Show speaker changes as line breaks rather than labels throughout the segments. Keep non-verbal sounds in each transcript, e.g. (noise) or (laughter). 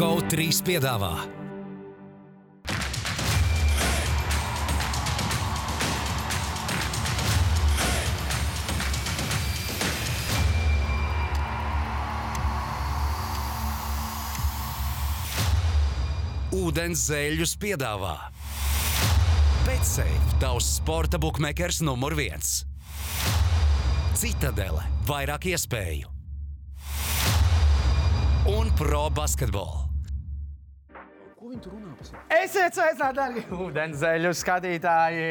GO3 piedāvā. Ūdens zēļus piedāvā. Pēcsēde - tavs sporta buklets numur viens. Citadele - vairāk iespēju un pro basketbolu.
Esiet sveicināti, darbie ūdenzēļu skatītāji!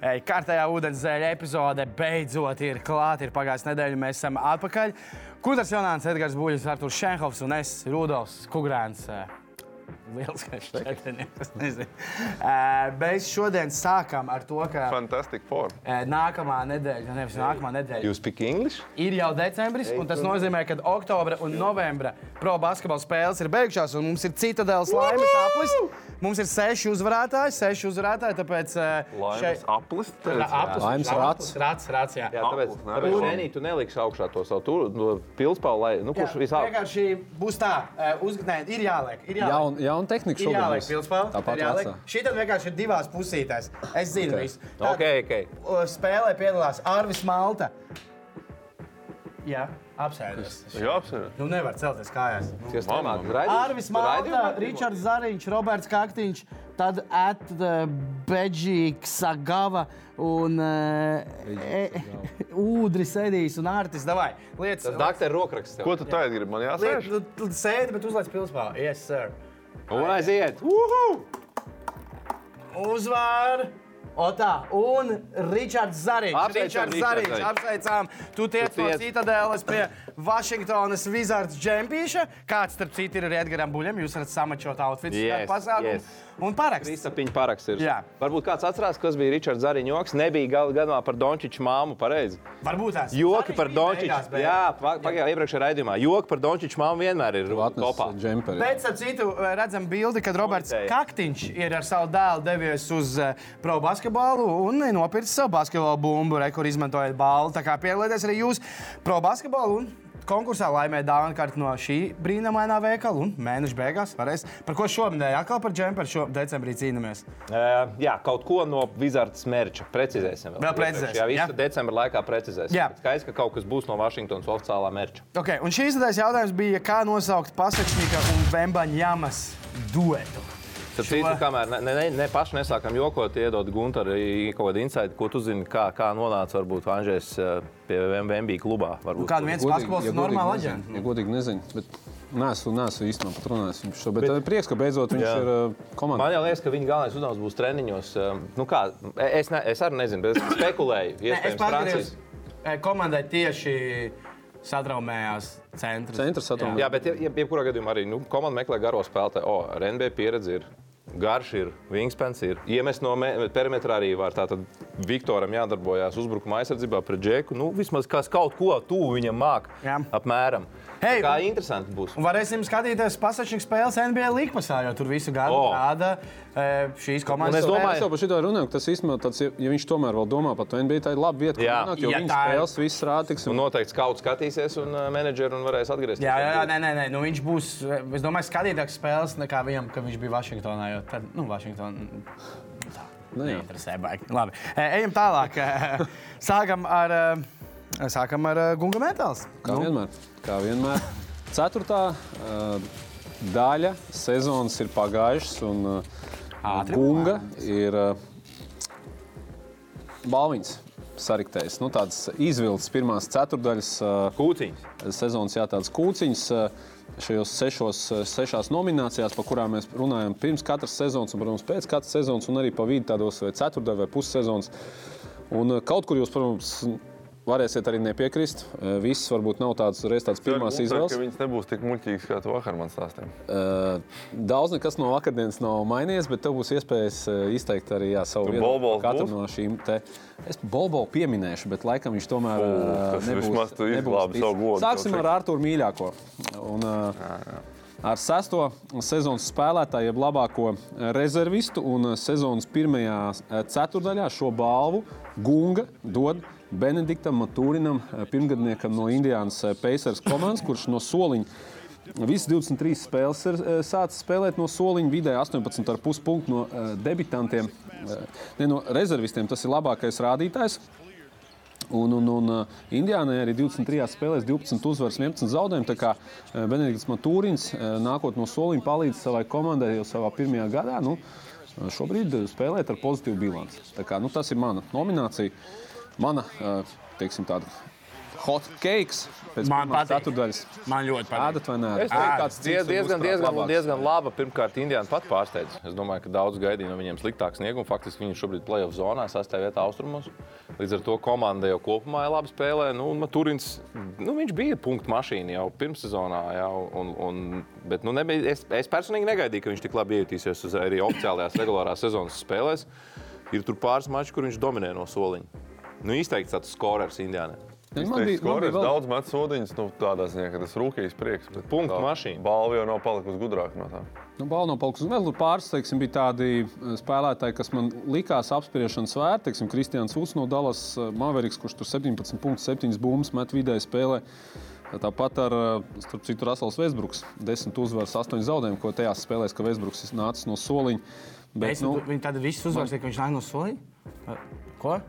Ei, Kārtējā ūdenzēļa epizode beidzot ir klāta. Ir pagājusi nedēļa, mēs esam atpakaļ. Kudrs Jānis, Edgars Buļs, Artur Šenhovs un es, Rudolfs Kugrāns. Liels, ka šeit ir. Mēs šodien sākam ar to, ka
Fantastic Four.
eh, nākamā nedēļa, nevis nākamā nedēļa,
You speak English?
ir jau decembris, un tas nozīmē, ka oktobra un novembra pro basketbalu spēles ir beigušās, un mums ir citadēlas laimes aplis. Mums ir seši uzvarētāji, seši uzvarētāji, tāpēc eh,
Laimes aplis.
Ra- aplis,
Laimes
aplis, rats, rats, jā.
Jā, tāpēc
Aplis,
tāpēc Renī, tu neliksi augšā to savu turu, no pilspālu, lai, nu, kurš visāk.
vienkārši būs tā, uzgatavot, ir jāliek. Ir jāliek.
Jaun, jauna tehnika
Ir
šodien.
jāliek
būs.
pilspēle.
Tāpat jāsaka.
Šī tad vienkārši ir divās pusītēs. Es zinu,
Ok.
okay. visu. Tad,
Ok, ok.
uh, Spēlē piedalās Arvis Malta. Jā, apsēdies.
Jā, apsver.
Nu nevar celties kājās.
Kas tomēr?
Arvis Malta, Ričards Zariņš, Roberts Kaktiņš, tad Ed Beģīks, Sagava un eh, e- (laughs) Ūdris Edijs un Ārtis. Davai, lietas.
Dakter rokraksts.
Ko tu tagad gribi? Man jāsēž?
Liet- tu- tu Sēdi, bet uzlaiž pilspālu. Yes, sir.
Un aiziet.
Uzvar! Otā un Ričards Zariņš.
Apsveicam,
Ričards
Ričards
Zariņš,
Zariņš.
apsveicām. Tu tiec no
tiec.
Citadelas pie Vašingtonas Wizards džempīša. Kāds, starp citu, ir arī Edgaram Buļam. Jūs varat samačot outfits
Yes,
yes, pasākumu.
yes.
Yes. Un paraksts.
Kristapiņa paraksts ir.
Jā.
Varbūt kāds atcerās, kas bija Ričards Zariņš joks. Nebija gala gadījumā par Dončiču māmu pareizi.
Varbūt tās.
Joki par
Zariņš bija beigās,
Dončiču.
bet-
Jā, pa- pagājā iepriekšējā raidījumā. Joki par Dončiču māmu vienmēr ir
Tu atnesi
topā.
džemperi.
Bet, ap citu, redzam bildi, kad Roberts
Komentēja.
Kaktiņš ir ar savu dēlu devies uz eh, pro basketbolu un nopircis savu basketbolu bumbu, re, kur izmantojot balvu. Tā kā piedalieties arī jūs pro basketbolu. Un Konkursā laimē dāvana kārtu no šī brīnumainā veikala, un mēneša beigās varēs. Par ko šobrīd, atkal par džemperi, šo decembrī cīnāmies.
Ē, Jā, kaut ko no Vizardas mērķa. Precizēsim.
Vēl precizēsim,
Jā,
jā.
visu decembra laikā precizēsim.
Jā.
Skaidrs, ka kaut kas būs no Vašingtonas oficiālā mērķa.
Okay, un šīs dienas jautājums bija, kā nosaukt Pasečnika un Vembaņamas duetu.
Tad, citu, kamēr ne, ne, ne paši nesākam jokot, iedod Gunteram kaut kādu insightu, ko tu zini, kā, kā nonāca varbūt Anžēs eh, pie MBB klubā. Varbūt,
Nu, Kādu viens basketbols ir normāli aģents.
nezinu, ja godīgi nezinu, bet nesu, nesu īstenībā pat runājis viņš šo. Bet, bet prieks, ka beidzot viņš
Jā.
jā. ir uh, komandā.
Man jau liekas, ka viņa galvenais uzdevums būs treniņos. eh, Nu kā, es, ne, es arī nezinu,
(coughs)
bet es spekulēju.
Nē, Es
Iespējams,
pats
Francijas.
komandai tieši satraumējās centrs.
Centrs satraumējās.
Jā, bet je- je- jebkurā gadījumā arī nu, komanda meklē garo spēlētāju. O, ar NBA pieredze ir. Garš ir, wingspans ir. Iemest no me- perimetra arī var. Tātad Viktoram jādarbojās uzbrukuma aizsardzībā pret džeku. Nu, vismaz kas kaut ko tuvu viņam māk.
Jā.
Apmēram.
Hei,
Tā kā interesanti būs.
Un varēsim skatīties pasažīgu spēles NBA līnijā, jo tur visu gadu
O.
rāda e, šīs komandas.
Un es
Es
domāju-
jau par šo runāju, ka tas īstenībā tāds, ja ja viņš tomēr vēl domā par to NBA, tā ir laba vieta, kur
Jā.
nonākt, jo
Jā,
viņš
tā ir.
spēles viss rādīs.
Un noteikti skauts skatīsies, un uh, menedžeri un varēs atgriezties.
Jā, jā, jā, nē, nē, nē. Nu, viņš būs, e, es domāju, skatītāks spēles nekā viņam, kad viņš bija Vašingtonā. Jo tad, nu, Vašingtonā Neinteresē, baigi. Labi, e, ejam tālāk. E, Sākam ar, e, sākam ar e, Gunga metāls.
Kā nu. vienmēr. Kā vienmēr. Ceturtā uh, daļa sezonas ir pagājušas, un uh,
Ātri
Gunga ir uh, balviņas sariktējis. Nu, tāds izvilcis pirmās ceturdaļas uh,
Kūciņš.
sezonas jā, tāds kūciņas. Uh, Šajos sešos, uh, sešās nominācijās, par kurām mēs runājam, pirms katras sezonas, un, protams, pēc katras sezonas, un arī pa vidu tādos vai ceturtdaļu vai pussezonas Un eh, kaut kur jūs, protams, varēsiet arī nepiekrist. Eh, Viss varbūt nav tāds reiz tāds pirmās izvēles.
Ka viņas nebūs tik muļķīgas, kā tu vakar man stāstīji.
Eh, Daudz nekas no vakardienas nav mainījies, bet tev būs iespējas eh, izteikt arī jā, savu
Tu
viedokli
Bolbols
par katru
būs?
no šīm. Te. Es Bolbo pieminēšu, bet laikam viņš tomēr
Ū,
eh,
tas
nebūs,
vismaz tu
nebūs
izglābi
ticis.
savu godu,
Sāksim
tev
ar Arthuru mīļāko. Un, eh, Ar sesto sezonas spēlētāju, jeb labāko eh, rezervistu un eh, sezonas pirmajā eh, ceturdaļā šo balvu Gunga dod eh, Benediktam Matūrinam, eh, pirmgadniekam no Indijas Pacers komandas, kurš no soliņa Visas 23 spēles ir eh, sācis spēlēt no soliņa vidēji 18,5 punktu no eh, debitantiem. eh, Ne no rezervistiem tas ir labākais rādītājs. Un, un, un eh, Indijānai arī 23 spēlēs 12 uzvaras, 11 zaudējumu. Tā kā eh, Benedikts Matūrins eh, nākot no soliņa palīdz savai komandai jau savā pirmajā gadā. Nu, eh, Šobrīd eh, spēlēt ar pozitīvu bilanci. Tā Kā, nu, tas ir mana nominācija. Mana, eh, teiksim, tāda hot cakes pēc
Man
pirmās
patīk.
ceturtdaļas.
Man ļoti patīk.
Ēdat vai nē?
Es domāju, ka tas
cits
bija
ir
diezgan,
uzkrāt
diezgan,
labāks.
diezgan laba. Pirmkārt, Indijāna pat pārsteidza. Es domāju, ka daudz gaidīja no viņiem sliktāku sniegumu. Faktiski viņi šobrīd ir plēsoņā zonā, sastāvā vietā austrumos. Līdz ar to komanda jau kopumā ir labi spēlē. Nu, un Turins nu, viņš bija punktu mašīna jau pirmssezonā. Jau, un, un, bet nu, nebija, es, es personīgi negaidīju, ka viņš tik labi iejutīsies uz arī oficiālajās regulārās sezonas spēlēs. Ir tur pāris mači, kur viņš dominē no soliņa. Nu, izteikts tāds skorers Indijānai.
Man
Man bija
bija- man bija
skorēs,
vēl-
daudz metu sodiņas, nu, tādā ziņā, ka tas rūkīs prieks. bet
Punktu
tā
mašīna.
Balva jau nav palikusi gudrāka no tām.
Nu, Balnopalks un vēl tur pāris teiksim, bija tādi eh, spēlētāji, kas man likās apspriešanas vērti. Teiksim, Kristians Uts no Dallas eh, Maveriks, kurš tur 17,7 bumbas met vidēji spēlē. Tāpat ar, eh, starp citu, Rasels Vēsbruks. 10 uzvaras, 8 zaudējumu, ko tajās spēlēs, ka Vēsbruks ir nācis no soliņa. Bet, nu,
Viņi tad viss uzvarēs, ka viņš nāk no soliņa. Ko?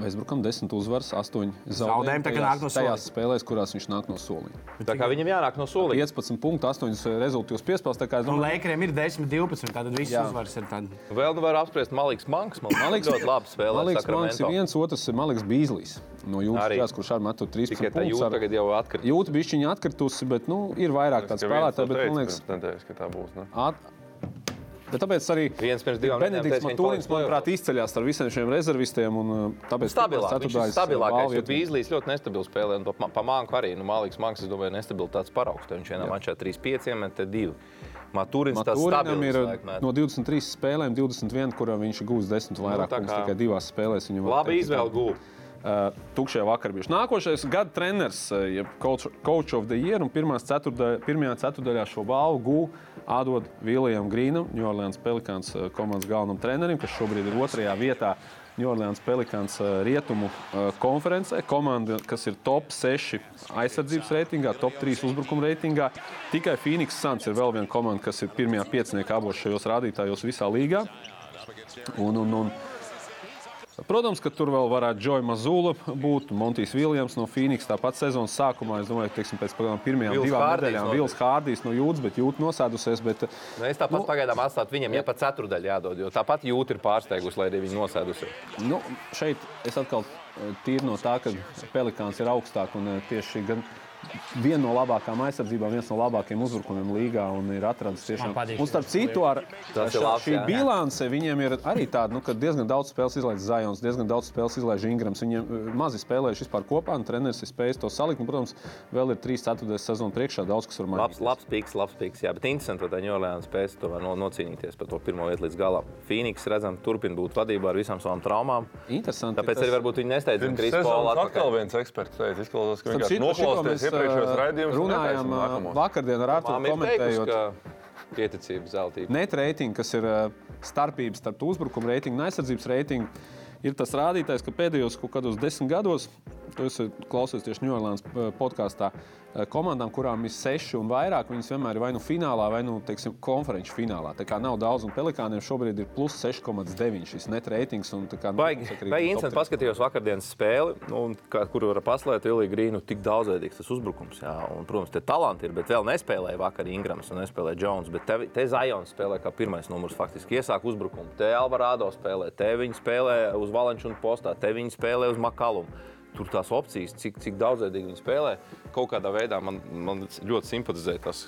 Vēsbrukam 10 uzvaras, 8
Zaudējumi,
zaudējumu.
tā kā nāk no
tajās- Tajās spēlēs, kurās viņš nāk no soliņa.
Tā kā viņam jānāk no soliņa.
15 punktu, 8 rezultātus piespēlēs. tā kā es
Un Nu,
domāju,
Lakeriem ir 10, 12. Tad viss
Jā.
uzvaras ir tāds.
Vēl nu var apspriest, Maliks Mankas.
(coughs)
Man
Maliks-
Maliks ļoti labi spēlē.
Maliks Manks ir
Sakramento.
viens, otrs ir Maliks Bīslis. No jūras
Arī.
puses, kurš ar metu
Tikai
13
tā jūta
punktus.
tagad jau atkrīt.
Jūta bija viņa atkritusi, bet nu, ir vairāk tādu
Ka viens
spēlētāju,
to
bet man
teica
liekas,
pirms nedēļas, ka tā būs. nu. Ne?
at... bet tāpēc arī
Viens pirms divām
Benedikts
nedēļām teica, ka viņš
Matūrins,
paliks
manuprāt, izceļās ar visiem šiem rezervistiem. Un, uh, tāpēc uh,
Stabilāk, viņš ir
ceturtdaļas
stabilākais.
balvu
Jo
iet-
Bīslīs ļoti nestabils spēlē, un pa, pa Manku arī. Nu, Maliks Mankas, es domāju, nestabilitātes paraugs. Tad Viņš vienā mačā 3-5, un te 2. Matūrins tas
Matūrinam
stabils.
ir uh,
Ir,
no 23 spēlēm 21, kurām viņš gūs 10 vairāk.
tā
Nu,
kā-
tikai divās spēlēs viņam var
Labi
teikt, ka-
izvēle gūta.
Uh, tukšajā vakarā bija. Nākošais gada treneris, uh, jeb coach, coach of the year, un pirmās ceturtdaļā- pirmajā ceturdaļā šo balvu gūja Ādot Viljams Grīnam, New Orleans Pelikāns uh, komandas galvenam trenerim, kas šobrīd ir otrajā vietā. New Orleans Pelikāns uh, rietumu uh, konferencē, komanda, kas ir top 6 aizsardzības reitingā, top 3 uzbrukuma reitingā. Tikai Phoenix Suns ir vēl viena komanda, kas ir pirmajā pieciniekā abos šajos rādītājos visā līgā. Un, un, un, Protams, ka tur vēl varētu Džoja Mazula būt, Montijs Viljams no Phoenix. Tāpat sezonas sākumā, es domāju, teiksim, pēc pagājām pirmajām
Vils
divām
Hārdijs
nedēļām
noteikti.
Vils Hārdijs no jūtas, bet jūtas nosēdusies. Bet,
Nu, es tāpat nu, pagaidām atstātu viņam, ja pat ceturdaļu jādod, jo tāpat jūta ir pārsteigusi, lai arī viņi nosēdusi.
nu, šeit es atkal eh, tīri no tā, ka Pelikāns ir augstāk un eh, tieši gan viena no labākajām aizsardzībām, viens no labākajiem uzbrukumiem līgā un ir atradzis tiešām.
Man patīk
Un starp citu, ar
Tas ir
šā-
labs,
šī
jā.
bilance viņiem ir arī tāda, nu, ka diezgan daudz spēles izlaiž Zajons, diezgan daudz spēles izlaiž Ingrams. Viņiem eh, mazi spēlējuši vispār kopā, un treneris ir spējis to salikt. Un, protams, vēl ir 3-4 sezonu priekšā daudz, kas var
Labs,
mainīties.
labs piks, labs piks. Jā, bet interesanti, vai Daniela Lēna spēs to no, nocīnīties par to pirmo vietu līdz galam. Phoenix, redzam, turpina būt vadībā ar visām savām traumām.
Interesanti.
Tāpēc arī varbūt viņi nesteidzas
Pirms
Krīsas
sezonas
Paula
atkal
atpakaļ.
viens eksperts teica, izklausās, ka
Starp
viņš
citu, par šito
noklausās
mēs,
iepriekšējos
eh,
raidījumus. un
runājām
netaisim
eh,
nākamos.
vakardien ar
Mām
Arthuru
ir teikusi,
komentējot.
ka pieticība zeltība.
Net reitingi, kas ir ā, starpības starp uzbrukuma reitingu un aizsardzības reitingu, ir tas rādītājs, ka pēdējos kaut kādos desmit gados, to es klausos tieši Ņujorkas podkāstā, ā, komandām, kurām ir seši un vairāk, viņas vienmēr ir vai nu finālā, vai nu teiksim, konferenču finālā. Tā kā nav daudz, un pelikāniem šobrīd ir plus 6,9 šis net reitings. un tā kā, nu,
Baigi,
sakrīt
baigi
top
interesanti paskatījos vakardienas spēli, nu, un, kā, kur var paslēgt Ilija Grīnu. Tik daudzveidīgs tas uzbrukums, jā. Un, protams, te talanti ir, bet vēl nespēlēja vakar Ingrams un nespēlēja Jones. Bet te, te Zajons spēlē kā pirmais numurs faktiski iesāk uzbrukumu. Te Alvarado spēlē, te viņi spēlē uz Valenčūnu postā, te viņi spēlē uz Makalumu. Tur tās opcijas, cik, cik daudzveidīgi viņi spēlē, kaut kādā veidā man, man ļoti simpatizē tas,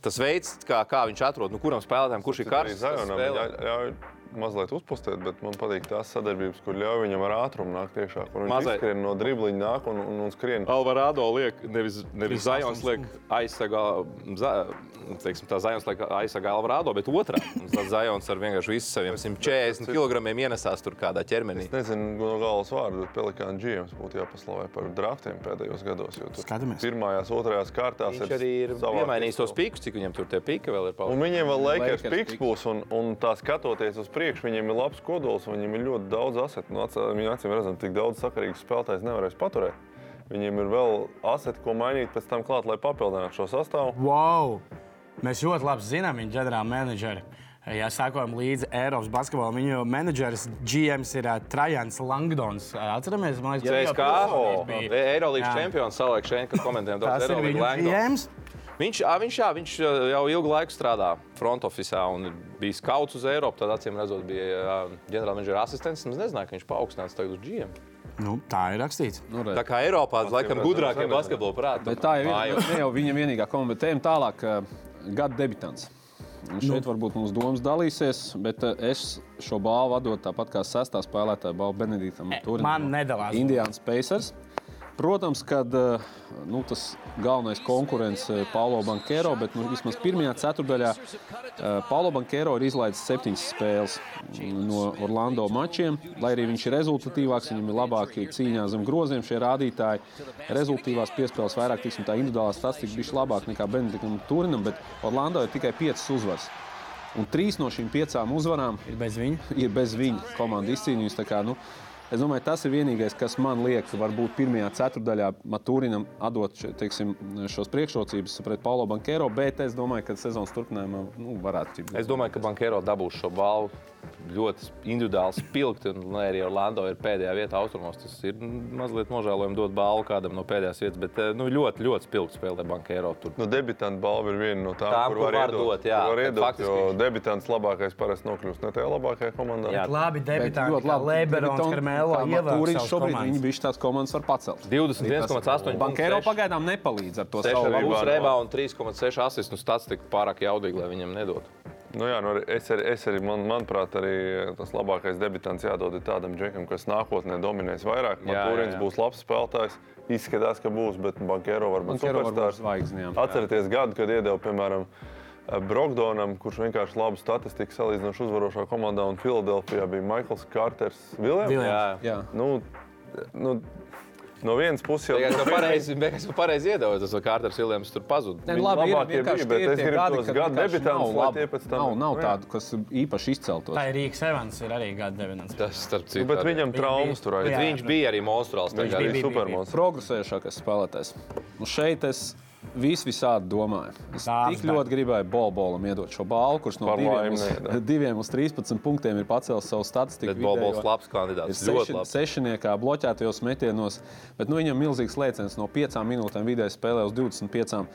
tas veids, kā, kā viņš atrod, nu, kuram spēlētājam, kurš ir
Arī
karsts. tas
Zajonam
spēlē.
ļauj- ļauj mazliet uzpūstēt, bet man patīk tās sadarbības, kur ļauj viņam ar ātrumu nākt iekšā. Kur viņš
Mazliet.
skrien no dribliņa nāk un, un, un skrien.
Alvarado liek, nevis, nevis Zajons liek aizsargā, za, teiksim, tā Zajons liek aizsargā Alvarado, bet otrā. Un Tad Zajons ar vienkārši visu saviem 140 kg ienesās tur kādā ķermenī.
Es nezinu no galvas vārdu, bet Pelikāna GMs būtu jāpaslavē par draftiem pēdējos gados. jo tur
Skatāmies.
Pirmajās, otrajās kārtās
Viņš arī ir
savācies
iemainījis tos
vēl.
pīkus, cik viņam tur tie pīki vēl ir
Un
palikuši.
viņiem vēl Lakers
Lakers
piks
picks.
būs, un, un tā skatoties uz priekšu, viņiem ir labs kodols, un viņiem ir ļoti daudz asetu. Nu, acī- Viņi acīm redzam, tik daudz sakarīgus spēlētājus nevarēs paturēt. Viņiem ir vēl aseti, ko mainīt pēc tam klāt, lai papildinātu šo sastāvu.
Wow! Mēs ļoti labi zinām viņa ģenerāla menedžeri. Ja sakojam līdzi Eiropas basketbolam, viņu menedžeris GMs ir uh, Trajans Langdons. Ā, Atceramies, man liekas,
CSKA
tas bija.
Eirolandes
Jā.
čempions Salēks Šenka komentējiem
Tas
daudz
ir
Eirolandes
viņu
Langdons.
GMs.
Viņš, ā, viņš, jā, viņš ā, jau ilgu laiku strādā front officā un ir bijis kauts uz Eiropu. Tad, acīm redzot, bija ģenerālmenedžera asistents. Es nezināju, ka viņš paaugstināts tagad uz GM.
Nu, tā ir rakstīts.
Nu,
Tā kā Eiropā laikam gudrākie basketbolu prāti.
Bet tā jau ir ne jau viņa vienīgā komanda, bet ejam tālāk. eh, Gada debitants.
Nu.
Un Šeit varbūt mums domas dalīsies, bet eh, es šo balvu dodu tāpat kā sestā spēlētāja balvu Benediktam. Turim
E, man
no
nedalās.
Indiāns Pacers. Protams, ka nu, tas galvenais konkurents ir Paulo Bankero, bet nu, vismaz pirmajā ceturdaļā eh, Paulo Bankero ir izlaidis septiņas spēles mm, no Orlando mačiem. Lai arī viņš ir rezultatīvāks, viņam ir labākie cīņā zem groziem šie rādītāji. Rezultātīvās piespēles vairāk, tiksim, tā individuālā statistika bija labāka nekā Benediktam Turinam, bet Orlando ir tikai piecas uzvaras. Un trīs no šīm piecām uzvarām
Ir bez viņa.
ir bez viņa komandas izcīnījums. tā Kā, nu, es domāju, tas ir vienīgais, kas man liekas, varbūt pirmajā ceturdaļā Matūrinam atdot še- teiksim, šos priekšrocības pret Paulo Bankero, bet es domāju, ka sezonas turpinājumā nu, varētu būt.
Es domāju, ka Bankero dabūs šo balvu. Ļoti individuāli spilgti, un lai arī Orlando ir pēdējā vietā austrumos, tas ir mazliet nožēlojami dot balvu kādam no pēdējās vietas, bet eh, nu, ļoti, ļoti spilgti spēlē Bankero. Tur
Nu, debitanta balva ir viena no tām,
Tām,
kur
ko
var
var
iedot.
dot, jā.
kur
Tad
var iedot
faktiski
jo
viņš-
debitants labākais parasti nokļūst ne tajā labākajā komandā.
Jā.
Labi, debitanti,
ļoti
kā
labi.
Leberons,
Debiton-
Karmelo,
kā Matūriņš šobrīd viņa
Ievārds.
bija šīs komandas var pacelt.
21,8
Bankero
punktu,
pagaidām nepalīdz ar to
6
savu
arī
labu-
var.
rebounds un 3,6 asists. Nu, stats tik pārāk jaudīgi, lai viņam nedod.
Nu, jā, nu, arī- es arī, es arī man, manuprāt, arī eh, tas labākais debitants jādod ir tādam džekam, kas nākotnē dominēs vairāk.
jā,
Turins
jā.
būs labs spēlētājs. Izskatās, ka būs, bet Bankero var būt
Bankero var būt
superstarps.
zvaigznēm.
Atcerieties gadu, kad iedeva, piemēram, Brokdonam, kurš vienkārši labu statistiku salīdzinoši uzvarošā komandā, un Filadelfijā bija Maikls Kārters Viljams.
Viljams.
Jā.
Nu, nu, no vienas puses jau
Tikai es jau pareizi, beigās jau pareizi iedevu, tas Kārters Viljams tur pazuda.
Ne, nu-
Viņi
labi, ir
labākie
vienkārši
bija, bet
tie ir
es
tie
gribu
gadi,
tos
kad
gadu
vienkārši
debitantus,
nav
lai
labi.
tie pēc tam-
nav, nav
Nu, jā.
tādu, kas īpaši izceltos.
Tā ir Rīgas Evans, ir arī gada devināts.
Tas, starp citu,
Nu,
Bet
arī-
viņam traumas tur
bet
Jā.
aizgāja.
viņš bija arī monstrāls.
Viņš
tagad.
bija-
bija supermons.
progresējušākais spēlētājs. Un šeit es vis visādi domāju. Es
Dārs
tik ļoti gribēju Bolbolam iedot šo balvu, kurš no
Par laimi
diviem uz,
neiedod.
(laughs) diviem uz 13 punktiem ir pacēlis savu statistiku.
Bet Bobols labs
Ir
kandidāts. Ļoti
seši,
labs.
sešniekā bloķētajos metienos, bet nu, viņam milzīgs lēciens no 5 minūtēm vidēji spēlē uz 25.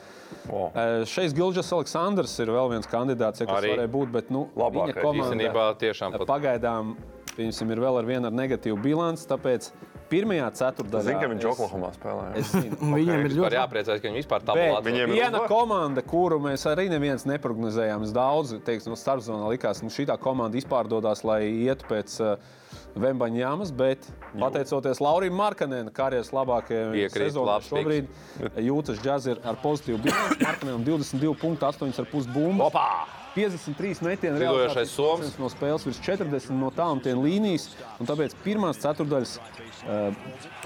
Wow.
Eh, Šeit Gilģis Aleksandrs ir vēl viens kandidāts, ja, kas
Arī.
varēja būt, bet nu,
Labākais.
viņa komanda
Īstenībā tiešām pat
pagaidām pieņemsim, ir vēl ar vienu ar negatīvu bilanci, tāpēc pirmajā ceturtdaļā
Zinu, ka viņš
es-
Oklahomā spēlēja.
Es zinu,
Un viņiem ir
Vispār
ļoti
jāpriecājas, ka viņi vispār tādu
Bet
lietu
Viņiem ir
viena
uzvar.
komanda, kuru mēs arī neviens neprognozējām, es daudz teiksim, no starpzonā likās, ka nu, šī komanda izpārdodas, lai ietu pēc uh, Vembaņa jāmas, bet pateicoties Laurim Markanenam, karjeras labākajai
Piekrīt,
sezonai
labs
šobrīd, jūtas džaz ir ar pozitīvu bilanci. Markanenam 22,8 bumbu.
Opā!
53 metieni
Zidojošais
realizācijas
soms.
procents no spēles virs 40 no tālumtiem līnijas. un Tāpēc pirmās ceturdaļas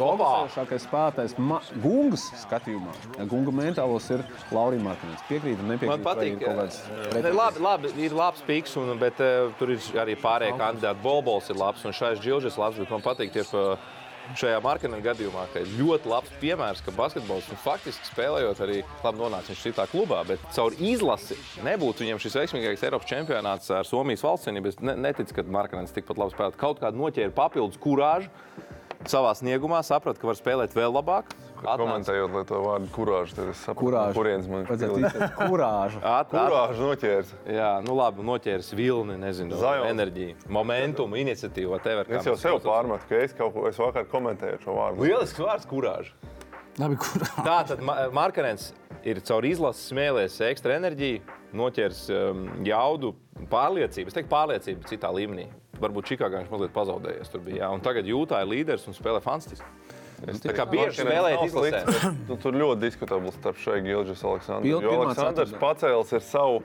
labākais spēlētājs Ma- Gungas skatījumā, Gunga mentālos ir Laurija Mārkins. Piekrītu,
Man
nepiekrītu. vai
patīk,
ir kaut kādas
ka labi, labi, ir labs piks, un, bet uh, tur ir arī pārējie kandidāti. Bolbols ir labs un šais džilžas labs, bet man patīk tieši uh, šajā marketinga gadījumā, ka ir ļoti labs piemērs, ka basketbols un faktiski spēlējot arī labi nonāca viņš šitā klubā, bet caur izlasi nebūtu viņam šis veiksmīgākais Eiropas čempionāts ar Somijas valstsvienību. Es ne, neticu, ka Markanens tikpat labi spēlē. Kaut kādu noķēra papildus kurāžu savā sniegumā, saprata, ka var spēlēt vēl labāk. Atnāca
Komentējot lietu vārdu kurāžu, tad es saprotu, no
Kurāžu.
kurienes man
Redzēt,
(laughs)
kurāža.
At- at-
Kurāžu noķērs.
Jā, nu labi, noķēris vilni, nezinu,
Zajons.
enerģiju, momentumu, iniciatīvu, whatever. kā
Es jau
mēs
sev
saucam.
pārmetu, ka es kaut ko, es vakar komentēju šo vārdu.
Lielisks vārds, kurāžs.
labi. kurā-
Tā tad Markarens ir caur izlases smēlēs ekstra enerģiju, noķēris um, jaudu, pārliecību. Es teiktu, pārliecību citā līmenī. Varbūt Čikāgā viņš mazliet pazaudējies. Tur bija jā, un tagad jūtā ir līderis un spēlē fantastiski. Tā kā bieži
Markanens
spēlēt
nav
izlasē.
slikts, bet, nu, Tur ļoti diskutabls starp šai Gilģis Aleksandrs.
Pildi
Jo
pirmā
Aleksandrs
ceturtā.
pacēlis ir savu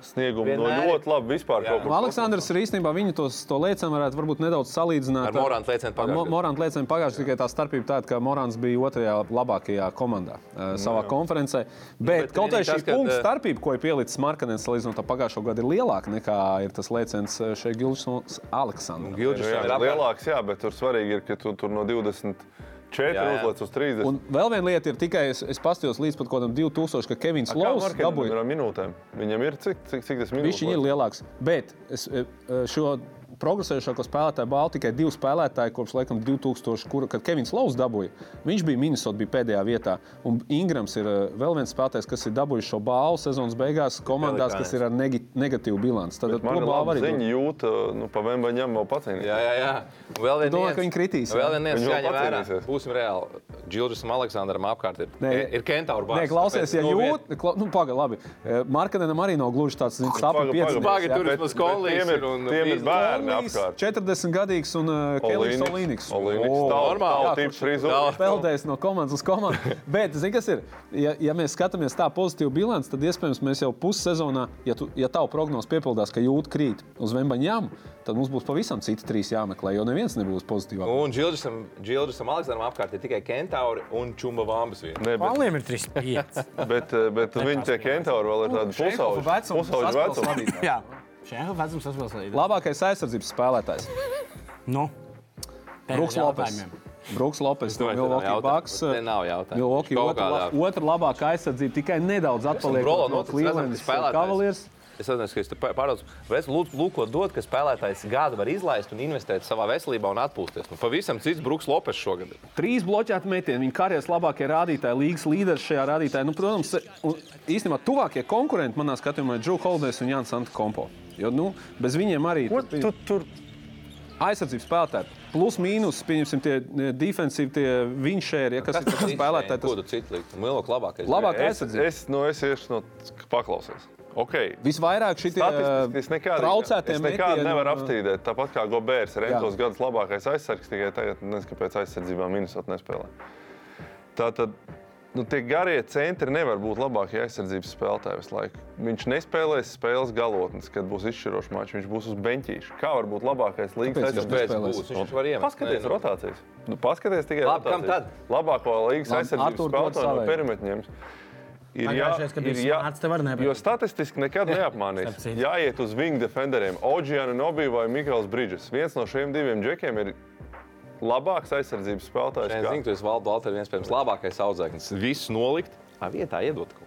sniegumu no
Vienmēr.
ļoti labi vispār kaut
Nu,
kur.
Aleksandrs ir īstenībā viņu tos, to lēcienu varētu varbūt nedaudz salīdzināt
Ar Morānu lēcienu pagājušajā gadā.
Morāns lēcienu pagājušajā tikai tā starpība tāda, ka Morāns bija otrajā labākajā komandā uh, savā konferencē. Bet,
Nu bet
bet kaut arī
vienīgi
šī
tas, ka,
punkta
eh,
starpība, ko ir pielicis Markanens salīdzinot ar pagājušo gadu, ir lielāka nekā ir tas lēciens eh, šeit Gilžs un Aleksandrs.
Gilģis
Jā,
ir
lielāks, jā, bet tur svarīgi ir, ka tu tur no 20. 4
Jā, jā.
uzlēc uz 30.
Un vēl viena lieta ir tikai, es, es paskatījos līdz pat kaut kādam 2000, ka Kevins Lovs
Viņam
dabūja.
ir minūtēm. Viņam ir cik, cik, cik tas minūtes?
Viņš ir lielāks. Bet es, e, e, šo progresējušāko spēlētāju balvu tikai divi spēlētāji kopš laikam 2000, kura, kad Kevins Lovs dabūja. Viņš bija Minnesota, bija pēdējā vietā. Un Ingrams ir e, vēl viens spēlētājs, kas ir dabūjis šo balvu sezonas beigās komandās, kas ir ar negi, negatīvu bilanci. Tad
Bet man
to
ir
balvu
labi
arī dod.
ziņa jūt, uh, nu, pa vem viņam vēl
Jā,
pacīnīt.
jā, jā. Un Vēl viena
Domā,
lieta.
ka viņi kritīs, jā?
Vēl viena
Viņi
lieta,
vēl
jāņem vērā.
pacīnīsies.
Būsim reāli. Džilžisam Aleksandram apkārt ir,
Nē.
ir kentauru bars.
Nē, klausies, ja
tāpēc, nu,
jūt, kla, nu, pagaidi, labi. Marketinam arī nav gluži tāds
Paga,
sapnis,
paga,
kāds
Pagaid, tur vismaz Konlīs
Tiem ir,
ir un
tiem ir
Frīzlis.
bērni apkārt.
40 gadīgs un uh, Kelvijs Olimpisks.
Olīniks.
normāli.
Normāli.
Jā,
Tīps frizūra.
Daudz.
Peldējis no komandas uz
(laughs)
komandu. Bet, zini, kas ir? Ja, ja mēs skatāmies tā pozitīvu bilanci, tad iespējams mēs jau pussezonā, ja, tu, ja tavu prognoze piepildās, ka jūtas krīt uz vembaņām, tad mums būs pavisam citi trīs jāmeklē, jo neviens nebūs pozitīvāk.
Un Džilžisam Džilžisam Aleksandram apkārt ir tikai kentauri un čumba vambas viena.
Nē, bet,
Paliem ir 3,5.
bet, eh, bet viņi tie kentauri vēl ir tādi pusauģi. Pusauģi vecumi.
(laughs) Jā,
Šajā vecumā tas vēl slēdz.
Labākais aizsardzības spēlētājs
nu,
- Brooks Lopes. Brooks Lopes, no
Vai te nav
Milwaukee
jautājums?
Bucks.
Te nav jautājumu.
Milwaukee
Kaut
otra,
kādā-
la- otra labākā aizsardzība tikai nedaudz atpaliek
Brolo
no
noticis, redzam,
Clevelandas
ka spēlētājs-
Cavaliers.
Es atceros, ka es te pārdaudzēju, lūk, lūk, ko dod, ka spēlētājs gadu var izlaist un investēt savā veselībā un atpūsties. Nu, pavisam cits Brooks Lopes šogad. ir.
Trīs bloķēti metieni, viņa karjeras labākie rādītāji, līgas līderis šajā rādītājā. Nu, protams, se- un īstenībā tuvākie konkurenti manā skatījumā ir Džo Holders un Jānis Antokompo. Jo nu, bez viņiem arī
Tur, tur, tur
aizsardzības spēlētāji. Plus, mīnus, pieņemsim, tie e, defensīvi, tie vinšēri, ja, kas ir tas spēlētāji.
Ko
Tas
tu citu liktu? Milok labākais.
labāk
es,
aizsardzība.
es, nu, es iešu no paklausies. Okay.
Visvairāk šī
Statistiski es nekad,
traucētie
es nekad
metieni,
nevaru
uh,
apstrīdēt. Tāpat kā Gobērs ir Rentos gadus labākais aizsargs, tikai tagad nezinu, kāpēc aizsardzībā Minnesota nespēlē. Tātad nu, tie garie centri nevar būt labākie aizsardzības spēlētāji visu laiku. Viņš nespēlēs spēles galotnes, kad būs izšķirošs mačs. Viņš būs uz benčīša. Kā var būt labākais
Kāpēc
līnijas
viņš
Pēc
aizsardzības?
nespēlēs?
būs. Viņš var iemest.
Paskaties,
Nē, nu,
rotācijas. Nu, paskaties tikai
Labi, kam tad?
Labāko līnijas
Labi,
aizsardzības
Artur, dod
spēlētāju no
savai.
perimetriem. Ir
Pagājušais, kad bija smarts, te var nepateikt.
jo statistiski nekad neapmānīs.
Starp citu.
Jāiet uz wing defenderiem. Oģiāna Nobija vai Mikls Bridges. Viens no šiem diviem džekiem ir labāks aizsardzības spēlētājs.
Es
kā-
zinu, ka tas valda Baltāri viens pirms labākais audzēknis. Viss nolikt, tā vietā iedot kaut ko.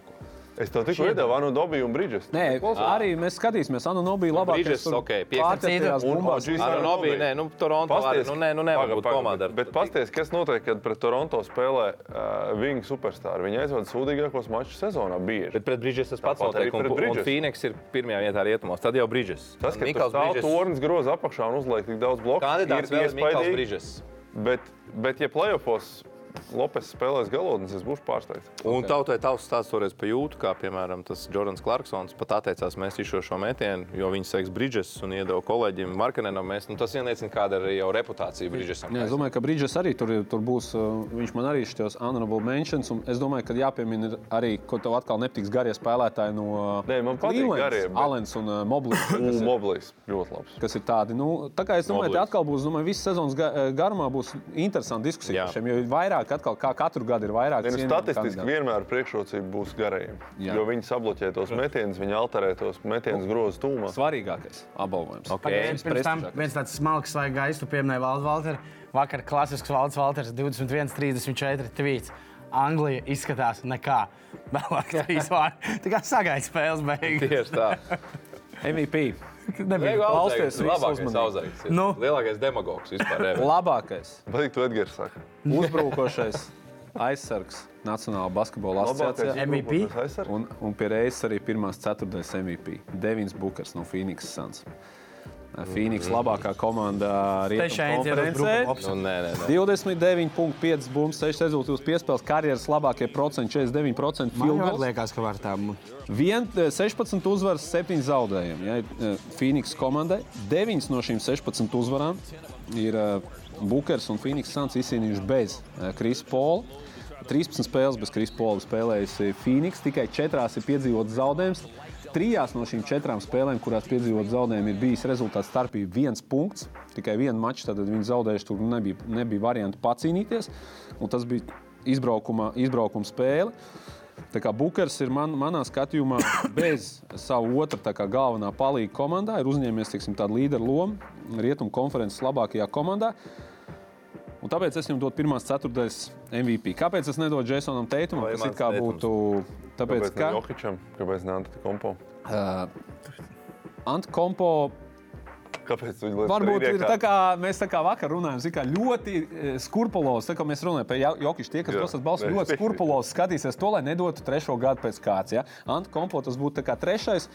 Es tev tikko
Šie-
iedevu Anu Nobiju un Bridges.
Nē, arī mēs skatīsimies, Anu Nobija labākais.
Bridges, ok, piektais.
Un
piektais.
OG
Ar Nobiju,
Anunobi.
nē, nu, Toronto arī.
Pasties,
Nu, nē, nu, nevar
paga,
būt
paga,
komanda. ar-
Bet, bet pasties, kas notiek, kad pret Toronto spēlē uh, viņa superstarru? Viņa aizvada sūdīgākos mačus sezonā bieži.
Bet pret Brīdžes tas pats
Tāpat arī
notiek. Un,
pret
un
Bridges.
Phoenix ir pirmajā vietā rietumos. Tad jau Brīdžes.
Tas, ka Mikls stāv tornis groza apakšā un uzliek tik daudz bloku,
Kandidāts vēl ir Mikls Brīdžes.
Bet, bet ja playoffs Lopes spēlēs galotnes, es būšu pārsteigts.
Un okay. tautai tavs stāsts toreiz pajūtu, kā piemēram tas Jordans Clarksons pat atteicās mēs izšo šo metienu, jo viņš seks Brīdžes un iedeva kolēģim Markanenam. Mēs, nu, tas ieliecina, kāda ir arī jau reputācija Brīdžesam.
Jā, es domāju, ka Brīdžers arī tur, ir- tur būs. uh, Viņš man arī šķiet, honorable mentions. un Es domāju, ka jāpiemina ir arī, ko tev atkal nepatiks garie spēlētāji no
Nē, man patīk garie, bet-
Alens un uh, Moblis.
Un Moblīs ļoti labs.
Kas ir tādi? Nu, tā kā es domāju, ka atkal būs, domāju, visas sezonas ga- uh, garumā būs interesanti diskusija
Jā.
par šiem. Jo ir vairāk, atkal, kā katru gadu ir vairāk.
Ir
cienījami
nu, statistiski
kandidāti.
vienmēr priekšrocība būs garajiem.
Jā. Nu,
Jo viņi sabloķē tos metienus, viņi alterē tos metienus grozu tūmā.
svarīgākais apbalvojums.
Okay.
pirms tam viens tāds smalks, lai gaisu pieminēja Valdu Valteru. Vakar klasisks Valds Valters 21, 34 tvīts. Anglija izskatās nekā. (laughs) Vēlāk trīs vārdi. Tā kā sagaidīja spēles beigas.
Tieši tā.
MVP.
Nebija.
Diego
Klausties,
Alzaitis ir
visu
labākais
uzmanīgi.
audzēknis.
Nu.
Lielākais demagogs vispār. ever.
Labākais,
Patīk, tu Edgars saka.
uzbrukošais aizsargs Nacionālā basketbola asociācijā.
MVP?
uzbrukošais aizsargs.
Un, un pie reizes arī pirmās ceturtais MVP - Devins Bukers no Phoenix Suns. Phoenix labākā komanda
Tešai
Rietumu
ietieros
konferencē.
Bruku
Nu, nē, nē, nē.
29,5 bumbiņas, 6 rezultātus piespēles, karjeras labākie procenti, 49% field
Man
goals.
liekas, ka var tā būt.
Vien, eh, 16 uzvaras, 7 zaudējumi. Ja, eh, Phoenix komandai 9 no šīm 16 uzvarām ir eh, Bukers un Phoenix Suns izcīnījuši bez eh, Kris Paula. 13 spēles bez Kris Paula spēlējusi Phoenix, tikai 4 ir piedzīvots zaudējums. Trijās no šīm četrām spēlēm, kurās piedzīvot zaudējumu, ir bijis rezultāts starpība viens punkts. Tikai viena mača, tad viņi zaudējuši, tur nebija, nebija variantu pacīnīties. Un tas bija izbraukuma, izbraukuma spēle. Tā kā Bukers ir man, manā skatījumā bez sava otra tā kā galvenā palīga komandā, ir uzņēmies teiksim, tādu līderu lomu Rietumu konferences labākajā komandā. Un tāpēc es viņam dodu pirmās ceturtdaļas MVP. Kāpēc es nedodu Jasonam Teitumam?
Vai
Tas it
mans
kā
Teitums?
būtu. Tāpēc,
Kāpēc
ka
ne Jokičam? Kāpēc ne Antetokounmpo?
Antkompo
Kāpēc viņš liekas?
varbūt ir tā, kā mēs tā kā vakar runājām, zin kā ļoti eh, skrupulos, tā kā mēs runājam par Ja- Jokišu, tie, kas
Jā.
dosas balsu, ļoti skrupulos skatīsies to, lai nedotu trešo gadu pēc kāds. Ja? Antkompo tas būtu tā kā trešais.